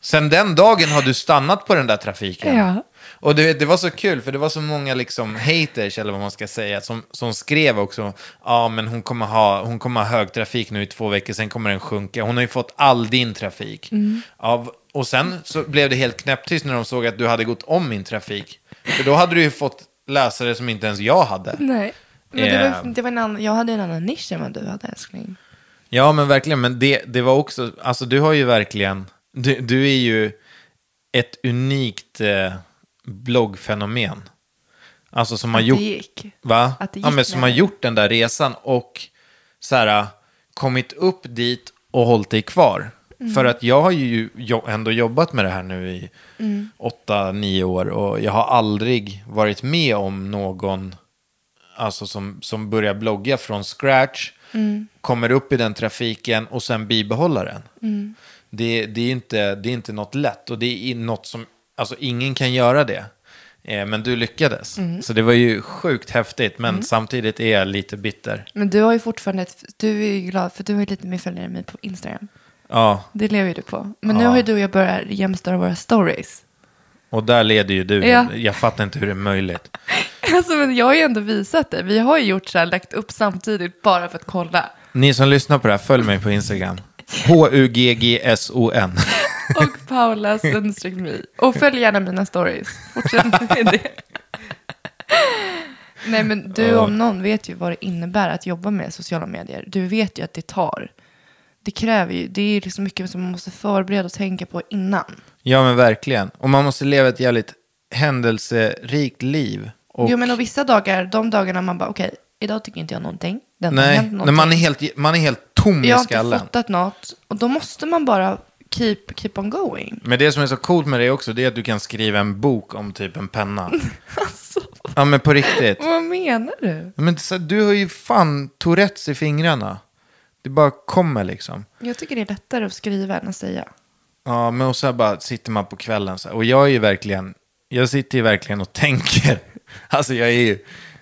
Sen den dagen har du stannat på den där trafiken. Ja. Och det, det var så kul, för det var så många liksom haters, eller vad man ska säga, som, som skrev också, ja men hon kommer, ha, hon kommer ha hög trafik nu i två veckor, sen kommer den sjunka. Hon har ju fått all din trafik. Mm. Ja, v- och sen så blev det helt knäpptyst när de såg att du hade gått om min trafik. För då hade du ju fått läsare som inte ens jag hade. Nej. Men det Eh. var, det var en annan, jag hade en annan nisch än vad du hade älskling. Ja, men verkligen. Men det, det var också, alltså du har ju verkligen, du, du är ju ett unikt eh, bloggfenomen. Alltså som har det gjort, gick. va? Att det ja, gick men som med har det. gjort den där resan och så här, kommit upp dit och hållit dig kvar. Mm. För att jag har ju jo, ändå jobbat med det här nu i Mm. åtta, nio år och jag har aldrig varit med om någon alltså som, som börjar blogga från scratch, Mm. kommer upp i den trafiken och sen bibehålla den. Mm. Det, det, är inte, det är inte något lätt och det är något som, alltså ingen kan göra det. Eh, men du lyckades. Mm. Så det var ju sjukt häftigt, men samtidigt är jag lite bitter. Men du har ju fortfarande, ett, du är ju glad för du har ju lite mer följare än mig på Instagram. Ja, Det lever ju du på. Men nu har ju du och jag börjat jämstöra våra stories. och där leder ju du. Ja. Jag fattar inte hur det är möjligt. Alltså men jag har ju ändå visat det. Vi har ju gjort så här, lagt upp samtidigt bara för att kolla. Ni som lyssnar på det här, följ mig på Instagram. H-U-G-G-S-O-N. Och Paulas understreck mig. Och följ gärna mina stories. Fortsätt med det. Nej men du om någon vet ju vad det innebär att jobba med sociala medier. Du vet ju att det tar. Det kräver ju, det är ju liksom mycket som man måste förbereda och tänka på innan. Ja men verkligen. Och man måste leva ett jävligt händelserikt liv. Och, Jo men och vissa dagar, de dagarna man bara okej, idag tycker inte jag någonting. Det har inte nej, hänt när någonting. man, är helt, man är helt tom jag i har inte skallen. fattat något. Och då måste man bara keep, keep on going. Men det som är så coolt med det också, det är att du kan skriva en bok om typ en penna. Alltså. Ja men på riktigt. Vad menar du? Men så, du har ju fan Tourettes i fingrarna. Det bara kommer liksom. Jag tycker det är lättare att skriva än att säga. Ja, men och så här bara sitter man på kvällen så här. Och jag är ju verkligen, jag sitter ju verkligen och tänker. Alltså jag är ju,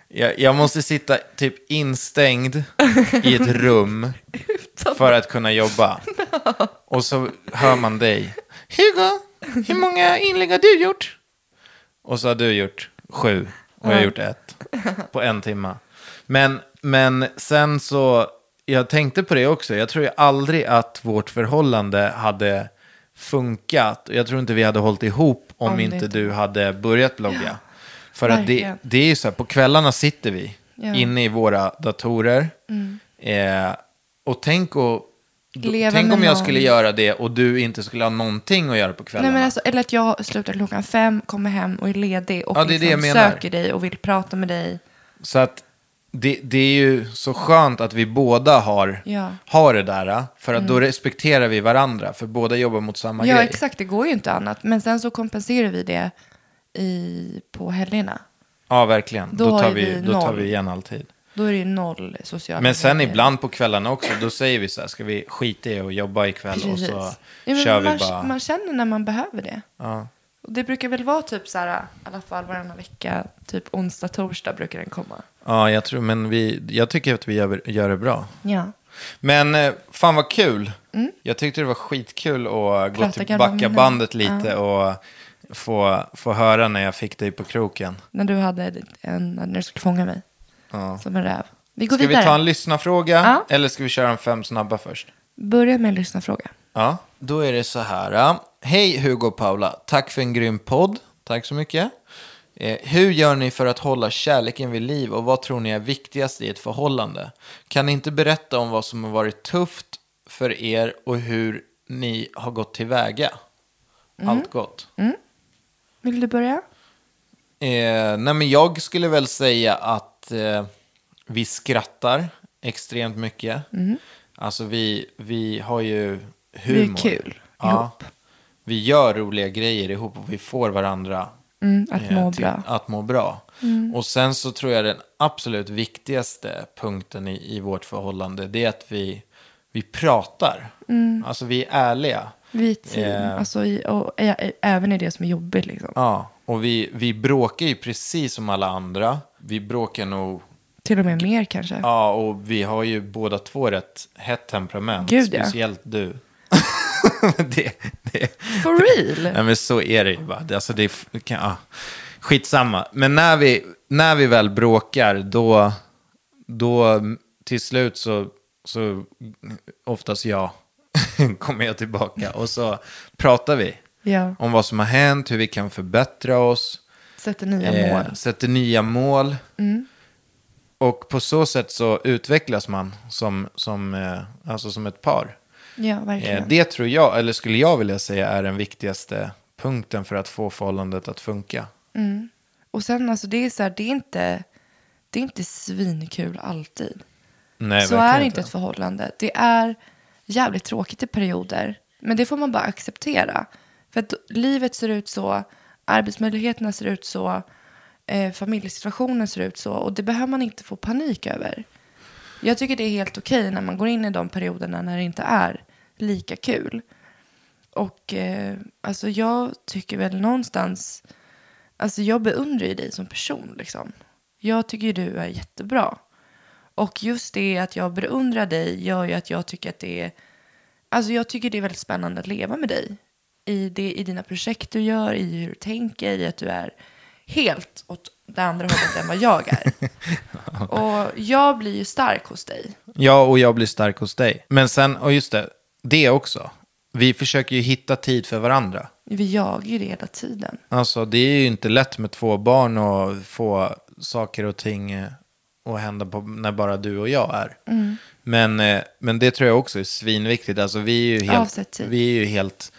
jag, jag måste sitta typ instängd i ett rum för att kunna jobba. Och så hör man dig. Hugo, hur många inlägg har du gjort? Och så har du gjort sju och jag har gjort ett på en timme. Men, men sen så, jag tänkte på det också, jag tror ju aldrig att vårt förhållande hade funkat. Jag tror inte vi hade hållit ihop om, Om det inte inte- du hade börjat blogga. För att det, verkligen. det är ju så här, på kvällarna sitter vi Ja. Mm. inne i våra datorer. Eh, och tänk, och, Leva tänk med om jag någon. skulle göra det och du inte skulle ha någonting att göra på kvällarna. Nej, men alltså, eller att jag slutar klockan fem, kommer hem och är ledig och Ja, det är det jag liksom menar. söker dig och vill prata med dig. Så att det, det är ju så skönt att vi båda har, Ja. Mm. har det där. eh, För att då respekterar vi varandra. För båda jobbar mot samma ja, grej. exakt, det går ju inte annat. Men sen så kompenserar vi det i, på helgerna. Ja, verkligen. Då, Då tar, har vi, vi då tar noll. vi igen alltid. Då är det ju noll sociala Men sen medier. ibland på kvällarna också, då säger vi så här, ska vi skita i och jobba ikväll och Precis. så Ja, men kör vi man, bara. man känner när man behöver det. Ja. Och det brukar väl vara typ så här, i alla fall varannan vecka, typ onsdag, torsdag brukar den komma. ja, jag tror, men vi, jag tycker att vi gör, gör det bra. Ja. Men eh, fan vad kul. Jag tyckte det var skitkul att gå Mm. Prata till gamla backa minnen. bandet lite och få, få höra när jag fick dig på kroken. När du hade en, när du skulle fånga mig. Som en räv. Vi går Ska vidare. vi ta en lyssnarfråga Ja. eller ska vi köra en fem snabba först? Börja med en lyssnarfråga. Ja, då är det så här. ja. Hej Hugo och Paula, tack för en grym podd. Tack så mycket. Eh, hur gör ni för att hålla kärleken vid liv och vad tror ni är viktigast i ett förhållande? Kan ni inte berätta om vad som har varit tufft för er och hur ni har gått tillväga? Allt gott. Vill du börja? Eh, nej, men jag skulle väl säga att eh, vi skrattar extremt mycket. Alltså vi, vi har ju humor. Mhm. Vi är kul Ja, vi gör roliga grejer ihop och vi får varandra Mm, att eh, må till- bra. Mm. Att må bra. Och sen så tror jag den absolut viktigaste punkten i, i vårt förhållande det är att vi, vi pratar. Alltså vi är ärliga. Mm. Vi är ett team. Eh. Alltså, i, och, ä, ä, även i det som är jobbigt liksom. Ja, och vi, vi bråkar ju precis som alla andra. Vi bråkar nog Till och med mer kanske. Ja, och vi har ju båda två rätt hett temperament. Gud, ja. speciellt du. det, det, For real? Nej, men så är det ju bara. Det- Alltså, det är, f- kan, ah, skitsamma. Men när vi, när vi väl bråkar, då, då mm, till slut så, så oftast jag kommer jag tillbaka och så pratar vi Ja. om vad som har hänt, hur vi kan förbättra oss, Sätter nya eh, mål. Mm. sätter nya mål. Och på så sätt så utvecklas man som, som, eh, alltså som ett par. Ja, Eh, verkligen. Det tror jag, eller skulle jag vilja säga, är den viktigaste punkten för att få förhållandet att funka. Och sen alltså det är så här, det är inte, det är inte svinkul alltid. Nej, så verkligen är inte ett förhållande. Det är jävligt tråkigt i perioder. Men det får man bara acceptera. För att livet ser ut så, arbetsmöjligheterna ser ut så, eh, familjesituationen ser ut så. Och det behöver man inte få panik över. Jag tycker det är helt okej när man går in i de perioderna när det inte är lika kul. Och eh, alltså jag tycker väl någonstans, alltså jag beundrar ju dig som person liksom. Jag tycker ju du är jättebra. Och just det att jag beundrar dig gör ju att jag tycker att det är, alltså jag tycker det är väldigt spännande att leva med dig. I, det, I dina projekt du gör, i hur du tänker, i att du är helt åt det andra hållet än vad jag är. Och jag blir ju stark hos dig. Ja, och jag blir stark hos dig. Men sen, och just det, det också. Vi försöker ju hitta tid för varandra. Vi jagar ju det hela tiden. Alltså, det är ju inte lätt med två barn och få saker och ting eh, att hända på när bara du och jag är. Mm. Men, eh, men det tror jag också är svinviktigt. Alltså, vi är ju Avsätt helt... tid. Vi är ju helt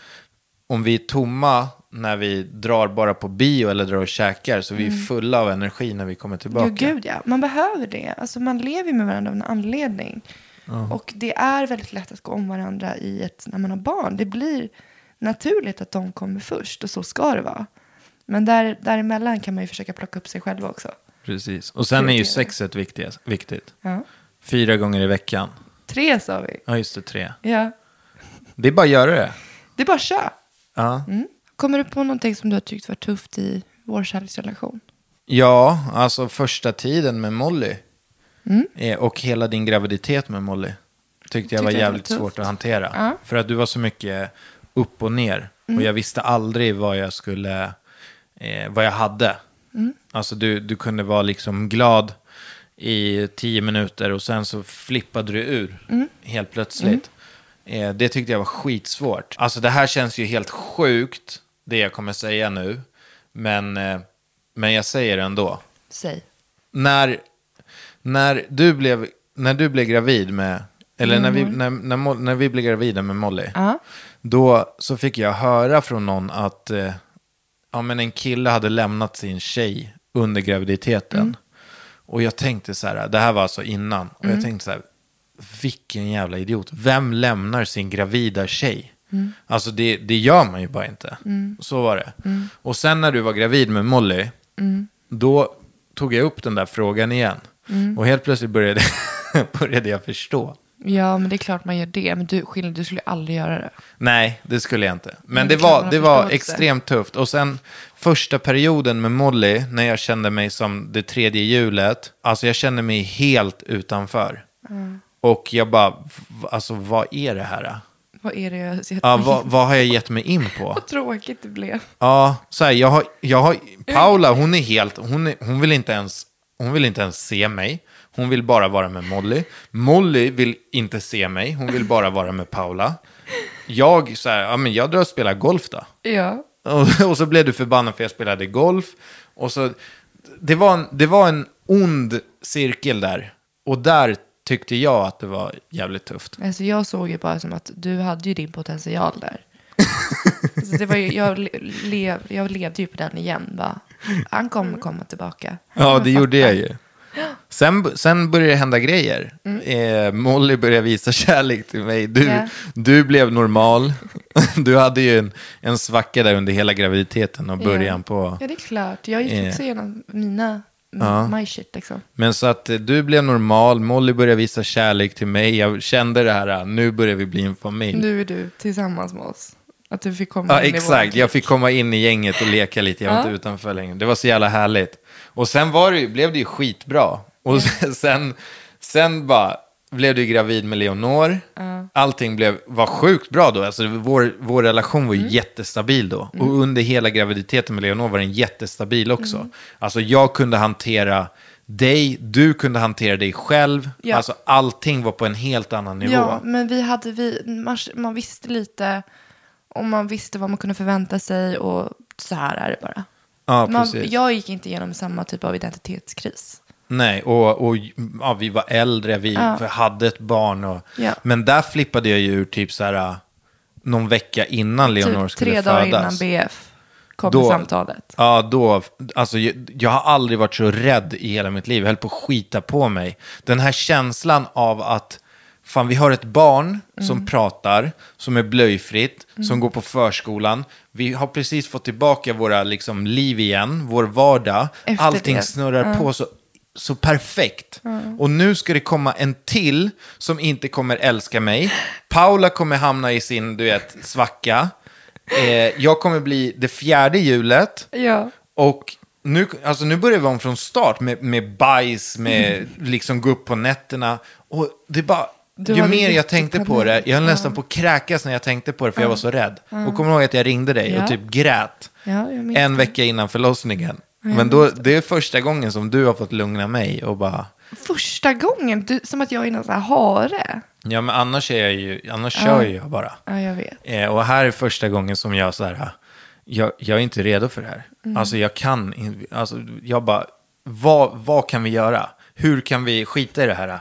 om vi är tomma när vi drar bara på bio eller drar och käkar så vi är fulla av energi när vi kommer tillbaka. Ja, Mm. gud ja. Man behöver det. Alltså, man lever ju med varandra av en anledning. Och det är väldigt lätt att gå om varandra i ett, när man har barn. Det blir naturligt att de kommer först och så ska det vara. Men där, däremellan kan man ju försöka plocka upp sig själv också. Precis. Och sen är ju Prioritera. sexet viktigt. viktigt. Ja. Fyra gånger i veckan. Tre sa vi. Ja, just det, tre. Ja. Det är bara att göra det. Det är bara att köra. Mm. Ja. Kommer du på någonting som du har tyckt var tufft i vår kärleksrelation? Ja, alltså första tiden med Molly. Eh, Och hela din graviditet med Molly. Tyckte jag var Mm. Tyckte jag var jävligt tufft. svårt att hantera. För att du var så mycket upp och ner. Mm. Och jag visste aldrig vad jag skulle, eh, vad jag hade. Mm. Alltså du, du kunde vara liksom glad i tio minuter och sen så flippade du ur Mm. helt plötsligt. Eh, det tyckte jag var skitsvårt. Alltså det här känns ju helt sjukt, det jag kommer säga nu. Men, eh, men jag säger det ändå Säg. när, när, du blev, när du blev gravid med, eller när vi, när, när, Mo- när vi blev gravida med Molly, då så fick jag höra från någon att eh, ja, men en kille hade lämnat sin tjej under graviditeten. Och jag tänkte så här, det här var alltså innan, och jag tänkte så här, vilken jävla idiot. Vem lämnar sin gravida tjej? Alltså det, det gör man ju bara inte. Så var det. Och sen när du var gravid med Molly, då tog jag upp den där frågan igen. Mm. Och helt plötsligt började, började jag förstå. Ja, men det är klart man gör det. Men du, skillnad, du skulle aldrig göra det. Nej, det skulle jag inte. Men Men det det kan var, man det ha var förståelse. extremt tufft. Och sen första perioden med Molly, när jag kände mig som det tredje hjulet, alltså jag kände mig helt utanför. Mm. Och jag bara, v- alltså vad är det här? Vad är det jag ser? Ja, vad, vad har jag gett mig in på? Ah, Vad tråkigt det blev. Ja, så här, jag har, jag har, Paula hon är helt, hon, är, hon, vill inte ens, hon vill inte ens se mig. Hon vill bara vara med Molly. Molly vill inte se mig, hon vill bara vara med Paula. Jag, så här, ja, men jag drar och spelar golf då. Ja. Och, och så blev du förbannad för jag spelade golf. Och så, det, var en, det var en ond cirkel där. Och där tyckte jag att det var jävligt tufft. Alltså jag såg ju bara som att du hade ju din potential där. Så det var ju, jag, le- lev, jag levde ju på den igen. Bara. Han kommer komma tillbaka. Han Ja, kommer det fatta. gjorde jag ju. Sen, sen började det hända grejer. Eh, Molly började visa kärlek till mig. Du, Mm. Ja. du blev normal. Du hade ju en, en svacka där under hela graviditeten och början ja. på... Ja, det är klart. Jag gick Eh. också igenom mina, my shit liksom. Men så att eh, du blev normal, Molly började visa kärlek till mig. Jag kände det här, ah, nu börjar vi bli en familj. Nu är du tillsammans med oss. Att du fick komma Ja, in i vår- exakt. Jag fick komma in i gänget och leka lite. Jag var inte utanför längre. Det var så jävla härligt. Och sen var det, ju- blev det ju skitbra. Och sen, sen bara, blev du gravid med Leonor. Allting blev, var sjukt bra då. Alltså, vår, vår relation var Mm. ju jättestabil då. Och under hela graviditeten med Leonor var den jättestabil också. Mm. Alltså jag kunde hantera dig, du kunde hantera dig själv. Ja. Alltså allting var på en helt annan nivå. Ja, men vi hade, vi, man, man visste lite och man visste vad man kunde förvänta sig och så här är det bara. Ja, man, precis. jag gick inte igenom samma typ av identitetskris. Nej, och, och ja, vi var äldre, vi hade ett barn. Och, Ja. Men där flippade jag ju ur typ så här äh, någon vecka innan Leonor typ skulle tre födas. dagar innan BF kom Då- samtalet. Ja, då, alltså, jag, jag har aldrig varit så rädd i hela mitt liv. Jag höll på att skita på mig. Den här känslan av att fan, vi har ett barn Mm. som pratar, som är blöjfritt, som går på förskolan. Vi har precis fått tillbaka våra liksom, liv igen, vår vardag. Efter Allting det. snurrar på så, så perfekt. Och nu ska det komma en till som inte kommer älska mig. Paula kommer hamna i sin, du vet, svacka. Eh, jag kommer bli det fjärde hjulet. Ja. Och nu, alltså nu börjar vi om från start med, med bajs, med Mm. liksom gå upp på nätterna. Och det är bara, Du ju hade mer jag riktigt tänkte på det, panik. jag höll nästan på att kräkas när jag tänkte på det för jag var så rädd. Och kommer ihåg att jag ringde dig och Ja. typ grät Ja, jag minns en det. vecka innan förlossningen. Men då, det är första gången som du har fått lugna mig och bara, Första gången, du, som att jag är någon sån här hare. ja men annars är jag ju, annars kör ju jag bara. Ja, jag vet. Eh, och här är första gången som jag så här, "Ah, jag, jag är inte redo för det här. Mm. Alltså jag kan, in- alltså jag bara, vad, vad kan vi göra? Hur kan vi skita i det här?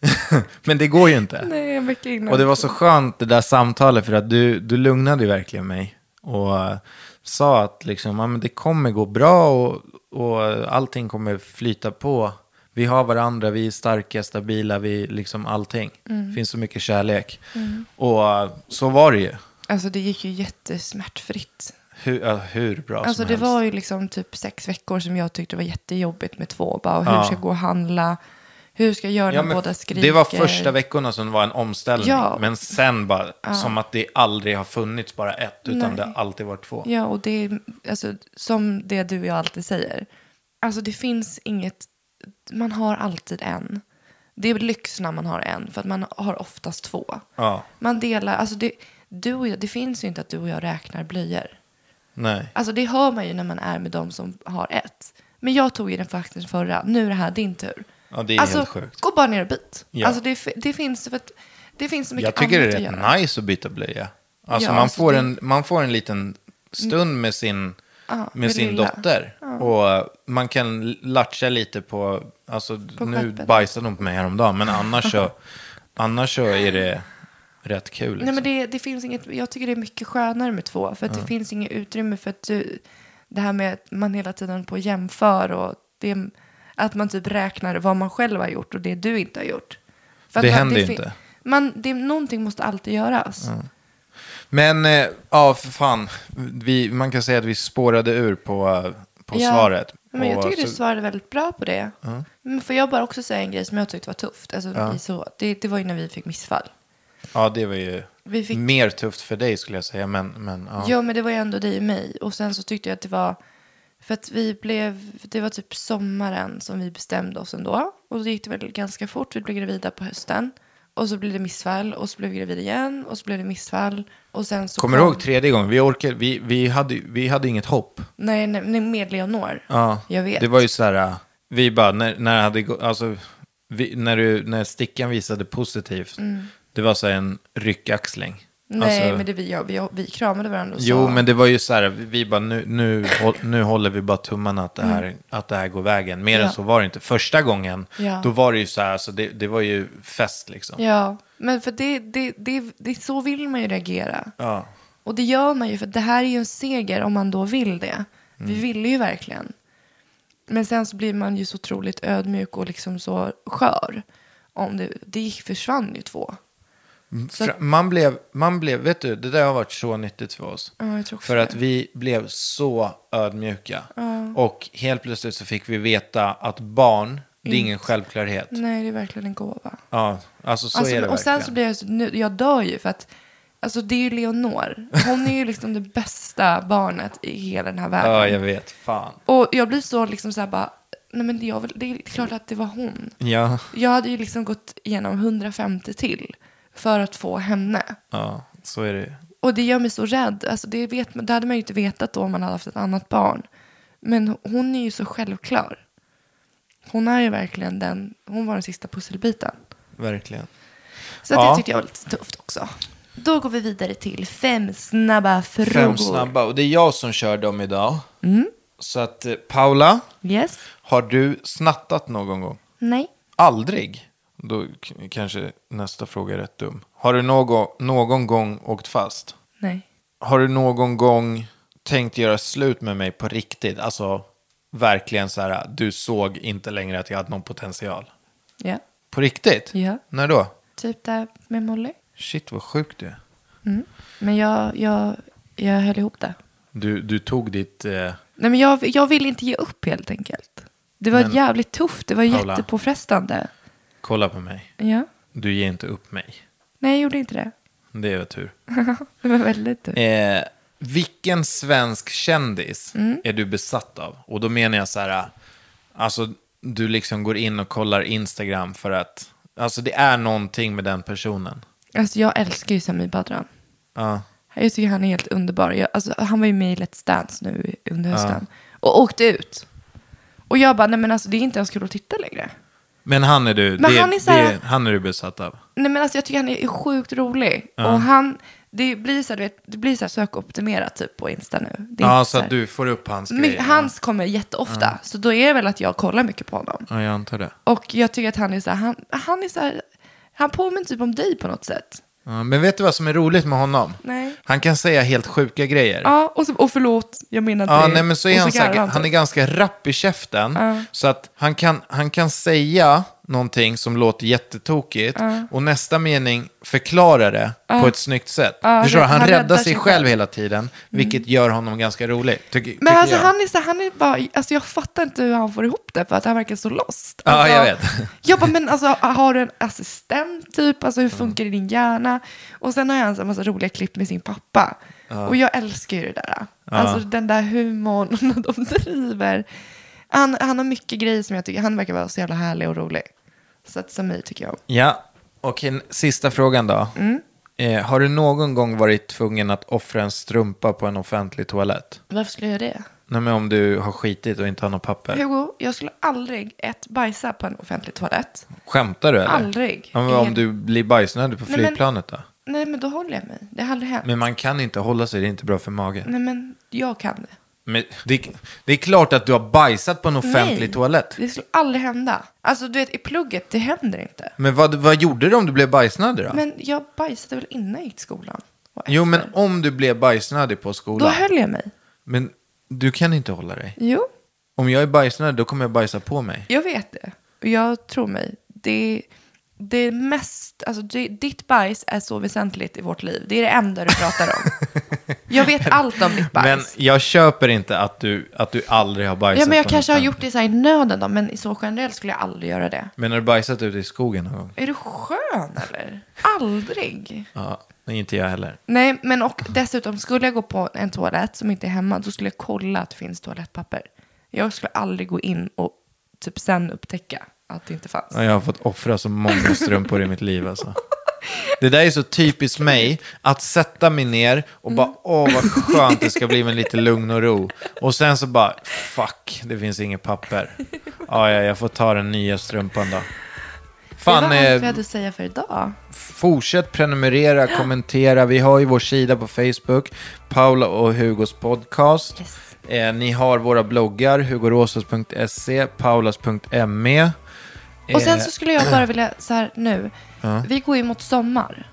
Men det går ju inte. Nej, en vecka innan. Och det var så skönt det där samtalet för att du, du lugnade ju verkligen mig. Och eh, sa att liksom, ja, men det kommer gå bra och, och eh, allting kommer flyta på. Vi har varandra, vi är starka, stabila, vi liksom allting. Mm. Det finns så mycket kärlek. Och eh, så var det ju. Alltså det gick ju jättesmärtfritt. Hur, ja, hur bra Alltså som det helst. var ju liksom typ sex veckor som jag tyckte var jättejobbigt med två. Bara, och hur Ja. ska jag gå och handla? Hur ska jag göra Ja, när men båda f- skriker? Det var första veckorna som var en omställning. Ja. Men sen bara, som att det aldrig har funnits bara ett, utan Nej. det har alltid varit två. Ja, och det är alltså, som det du och jag alltid säger. Alltså det finns inget, man har alltid en. Det är lyx när man har en, för att man har oftast två. Ja. Man delar, alltså det, du och jag, det finns ju inte att du och jag räknar blöjor. Nej. Alltså det hör man ju när man är med de som har ett. Men jag tog ju den faktiskt förra, nu är det här din tur. Ja, det är alltså, helt sjukt. gå bara ner och byt. Ja. Alltså det, fi- det finns för att, det finns så mycket Jag tycker det annat är att rätt göra. nice att byta blöja. Alltså Ja, man, alltså får det- en, man får en liten stund med sin, med med sin lilla. dotter. Och eh, man kan latcha lite på, alltså nu stjärpen. bajsade hon på mig häromdagen, men annars så, annars så är det rätt kul. Liksom. Nej, men det, det finns inget, jag tycker det är mycket skönare med två. För att det finns inget utrymme för att du, det här med att man hela tiden på och jämför och det, att man typ räknar vad man själv har gjort och det du inte har gjort. För att Det man, händer ju fin- inte. Man, det, någonting måste alltid göras. Men, eh, ja, för fan. Vi, man kan säga att vi spårade ur på, eh, på Ja, svaret. Men jag Och tycker du så- svarade väldigt bra på det. Men får jag bara också säga en grej som jag tyckte var tufft? Alltså, i så, det, det var ju när vi fick missfall. Ja, det var ju Vi fick- mer tufft för dig skulle jag säga. Men, men ja. Ja, men det var ju ändå dig och mig. Och sen så tyckte jag att det var... För att vi blev... Det var typ sommaren som vi bestämde oss ändå. Och då gick det väl ganska fort. Vi blev gravida på hösten. Och så blev det missfall. Och så blev vi gravida igen. Och så blev det missfall. Och sen så Kommer du kom- ihåg typ- tredje gången? Vi, orkade, vi, vi, hade, vi hade inget hopp. Nej, nej, nej med Leonor. Ja, jag vet. Det var ju så här, äh, vi bara, när, när, jag hade, gå- alltså, vi, när, du, när stickan visade positivt, det var så här en ryckaxling. Mm. Nej, Alltså- men det, vi, ja, vi, vi kramade varandra och Jo, sa... men det var ju så här, vi vi bara, nu, nu, hå- nu håller vi bara tummarna att det här, att det här går vägen. Mer än Mm. Ja. så var det inte. Första gången, Ja. då var det ju så här, alltså, det, det var ju fest liksom. Ja, men för det, det, det, det, så vill man ju reagera. Ja. Och det gör man ju för det här är ju en seger om man då vill det. Mm. Vi ville ju verkligen. Men sen så blir man ju så otroligt ödmjuk och liksom så skör. Om det, det gick, försvann ju två. Så- Fra- Man, blev, man blev, vet du, det där har varit så nyttigt för oss. Ja, jag tror också för att det. vi blev så ödmjuka. Och helt plötsligt så fick vi veta att barn, det är ingen självklarhet. Mm. Nej, det är verkligen en gåva. Ja, alltså så Alltså, är det och sen verkligen. så blir jag, så- nu, jag dör ju för att alltså det är ju Leonor. Hon är ju liksom det bästa barnet i hela den här världen. Ja, jag vet. Fan. Och jag blir så liksom så här bara, nej men jag, vill- det är klart att det var hon. Ja, Jag hade ju liksom gått igenom 150 till för att få henne. ja, så är det ju. Och det gör mig så rädd. Alltså det, vet, man- det hade man ju inte vetat då om man hade haft ett annat barn. Men hon är ju så självklar. Hon är ju verkligen den, hon var den sista pusselbiten. Verkligen. Så att Ja. det tyckte jag var lite tufft också. Då går vi vidare till fem snabba frågor. Fem snabba, och det är jag som kör dem idag. Så att eh, Paula, Yes. har du snattat någon gång? Nej. Aldrig? Då k- kanske nästa fråga är rätt dum. Har du någon, någon gång åkt fast? Nej. Har du någon gång tänkt göra slut med mig på riktigt? Alltså verkligen så här, du såg inte längre att jag hade någon potential. Ja. På riktigt? Ja. När då? Typ där med Molly. Shit vad sjukt det är. Men jag, jag, jag höll ihop det. du, du tog ditt... Eh, Nej, men jag, jag vill inte ge upp helt enkelt. Det var Men- jävligt tufft. Det var Paula. jättepåfrestande. kolla på mig. Ja. Du ger inte upp mig. Nej, jag gjorde inte det. Det är tur. Det var väldigt tufft. Eh, vilken svensk kändis Mm. är du besatt av? Och då menar jag så här, alltså du liksom går in och kollar Instagram för att, alltså det är någonting med den personen. Alltså, jag älskar ju Samir Badran. Ja, Jag tycker han är helt underbar. Jag, alltså, han var ju med i Let's Dance nu under hösten. Och åkte ut. Och jag bara, nej men alltså det är inte ens kul att titta längre. Men han är du, Men det, han är så här- det, han är du besatt av. Nej men alltså jag tycker han är sjukt rolig. Och han, det blir så här, du vet, det blir så här sökoptimerat typ på Insta nu. Det är Ja, inte så här- att du får upp hans My, grejer. hans kommer jätteofta. Så då är det väl att jag kollar mycket på honom. Ja, jag antar det. Och jag tycker att han är så här, han, han är så här, han påminner typ om dig på något sätt. Ja, men vet du vad som är roligt med honom? Nej. Han kan säga helt sjuka grejer. Ja, och, så, och förlåt, jag menar inte Ja, det. nej, men så är Och han, så här, garvar han är typ. ganska rapp i käften. Så att han kan, han kan säga någonting som låter jättetokigt och nästa mening förklara det på ett snyggt sätt. Förstår du? han Han, räddar räddar sig Mm. sig själv hela tiden, vilket gör honom ganska rolig. Tycker, Men tycker alltså jag. han är så här, han är bara, alltså jag fattar inte hur han får ihop det för att han verkar så lost. Ja, alltså, jag vet. Jag bara, men alltså har du en assistent typ? Alltså hur funkar det i din hjärna? Och sen har han så här massa roliga klipp med sin pappa. Och jag älskar ju det där. Alltså den där humorn när de driver. Han, han har mycket grejer som jag tycker, han verkar vara så jävla härlig och rolig. Så att Samir tycker jag om. Ja, och en sista frågan då. Mm. Eh, har du någon gång varit tvungen att offra en strumpa på en offentlig toalett? Varför skulle jag göra det? Nej, men om du har skitit och inte har något papper. Hugo, jag skulle aldrig ett bajsa på en offentlig toalett. Skämtar du eller? Aldrig. Ja, men om du blir bajsnödig på Nej, men- flygplanet då? Nej men då håller jag mig. Det har aldrig hänt. Men man kan inte hålla sig, det är inte bra för magen. Nej men jag kan det. Men det, det är klart att du har bajsat på en offentlig Nej, toalett. Det skulle aldrig hända. Alltså du vet i plugget, det händer inte. Men vad, vad gjorde du om du blev bajsnödig då? Men jag bajsade väl innan jag gick till skolan? Och jo, efter. men om du blev bajsnödig på Då skolan. höll jag mig. Men du kan inte hålla dig. Jo, Om jag är bajsnödig, då kommer jag bajsa på mig. jag vet det. Och jag tror mig. Det, det är mest, alltså det, ditt bajs är så väsentligt i vårt liv. Det är det enda du pratar om. jag vet allt om ditt Men bajs. jag köper inte att du, att du aldrig har bajsat ja, men jag på en kanske har offentlig- gjort det så här i nöden då, men så generellt skulle jag aldrig göra det. Men har du bajsat ute i skogen någon gång? Är du skön eller? Aldrig. Ja, nej, inte jag heller. Nej, men och dessutom skulle jag gå på en toalett som inte är hemma, då skulle jag kolla att det finns toalettpapper. Jag skulle aldrig gå in och typ sen upptäcka att det inte fanns. Ja, Jag har fått offra så många strumpor i mitt liv alltså. Det där är så typiskt mig, att sätta mig ner och Mm. bara åh vad skönt det ska bli med lite lugn och ro. Och sen så bara fuck, det finns inget papper. Ja, ja jag får ta den nya strumpan då. det Fan, var allt vi eh, hade att säga för idag. fortsätt prenumerera, kommentera. Vi har ju vår sida på Facebook, Paula och Hugos podcast. Eh, ni har våra bloggar, hugoråsos.se, paulas.me. Och sen Eh, så skulle jag bara vilja, så här nu, vi går ju mot sommar.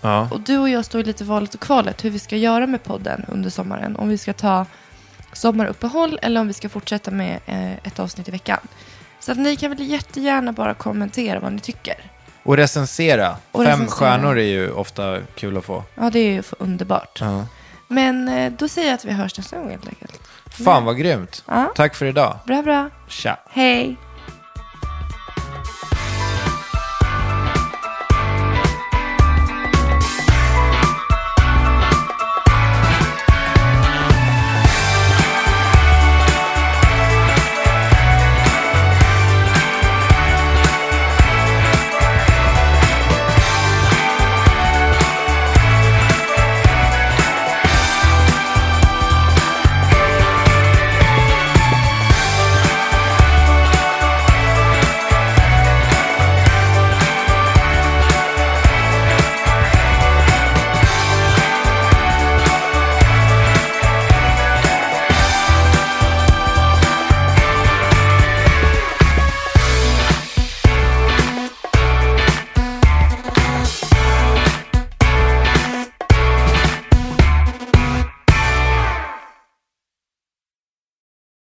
Ja. Och du och jag står ju lite i valet och kvalet hur vi ska göra med podden under sommaren. Om vi ska ta sommaruppehåll eller om vi ska fortsätta med eh, ett avsnitt i veckan. Så att ni kan väl jättegärna bara kommentera vad ni tycker. Och recensera. Och Fem recensera. stjärnor är ju ofta kul att få. Ja, det är ju för underbart. Men eh, då säger jag att vi hörs nästa gång helt enkelt. Fan vad grymt. Ja. Tack för idag. Bra, bra. Tja. Hej!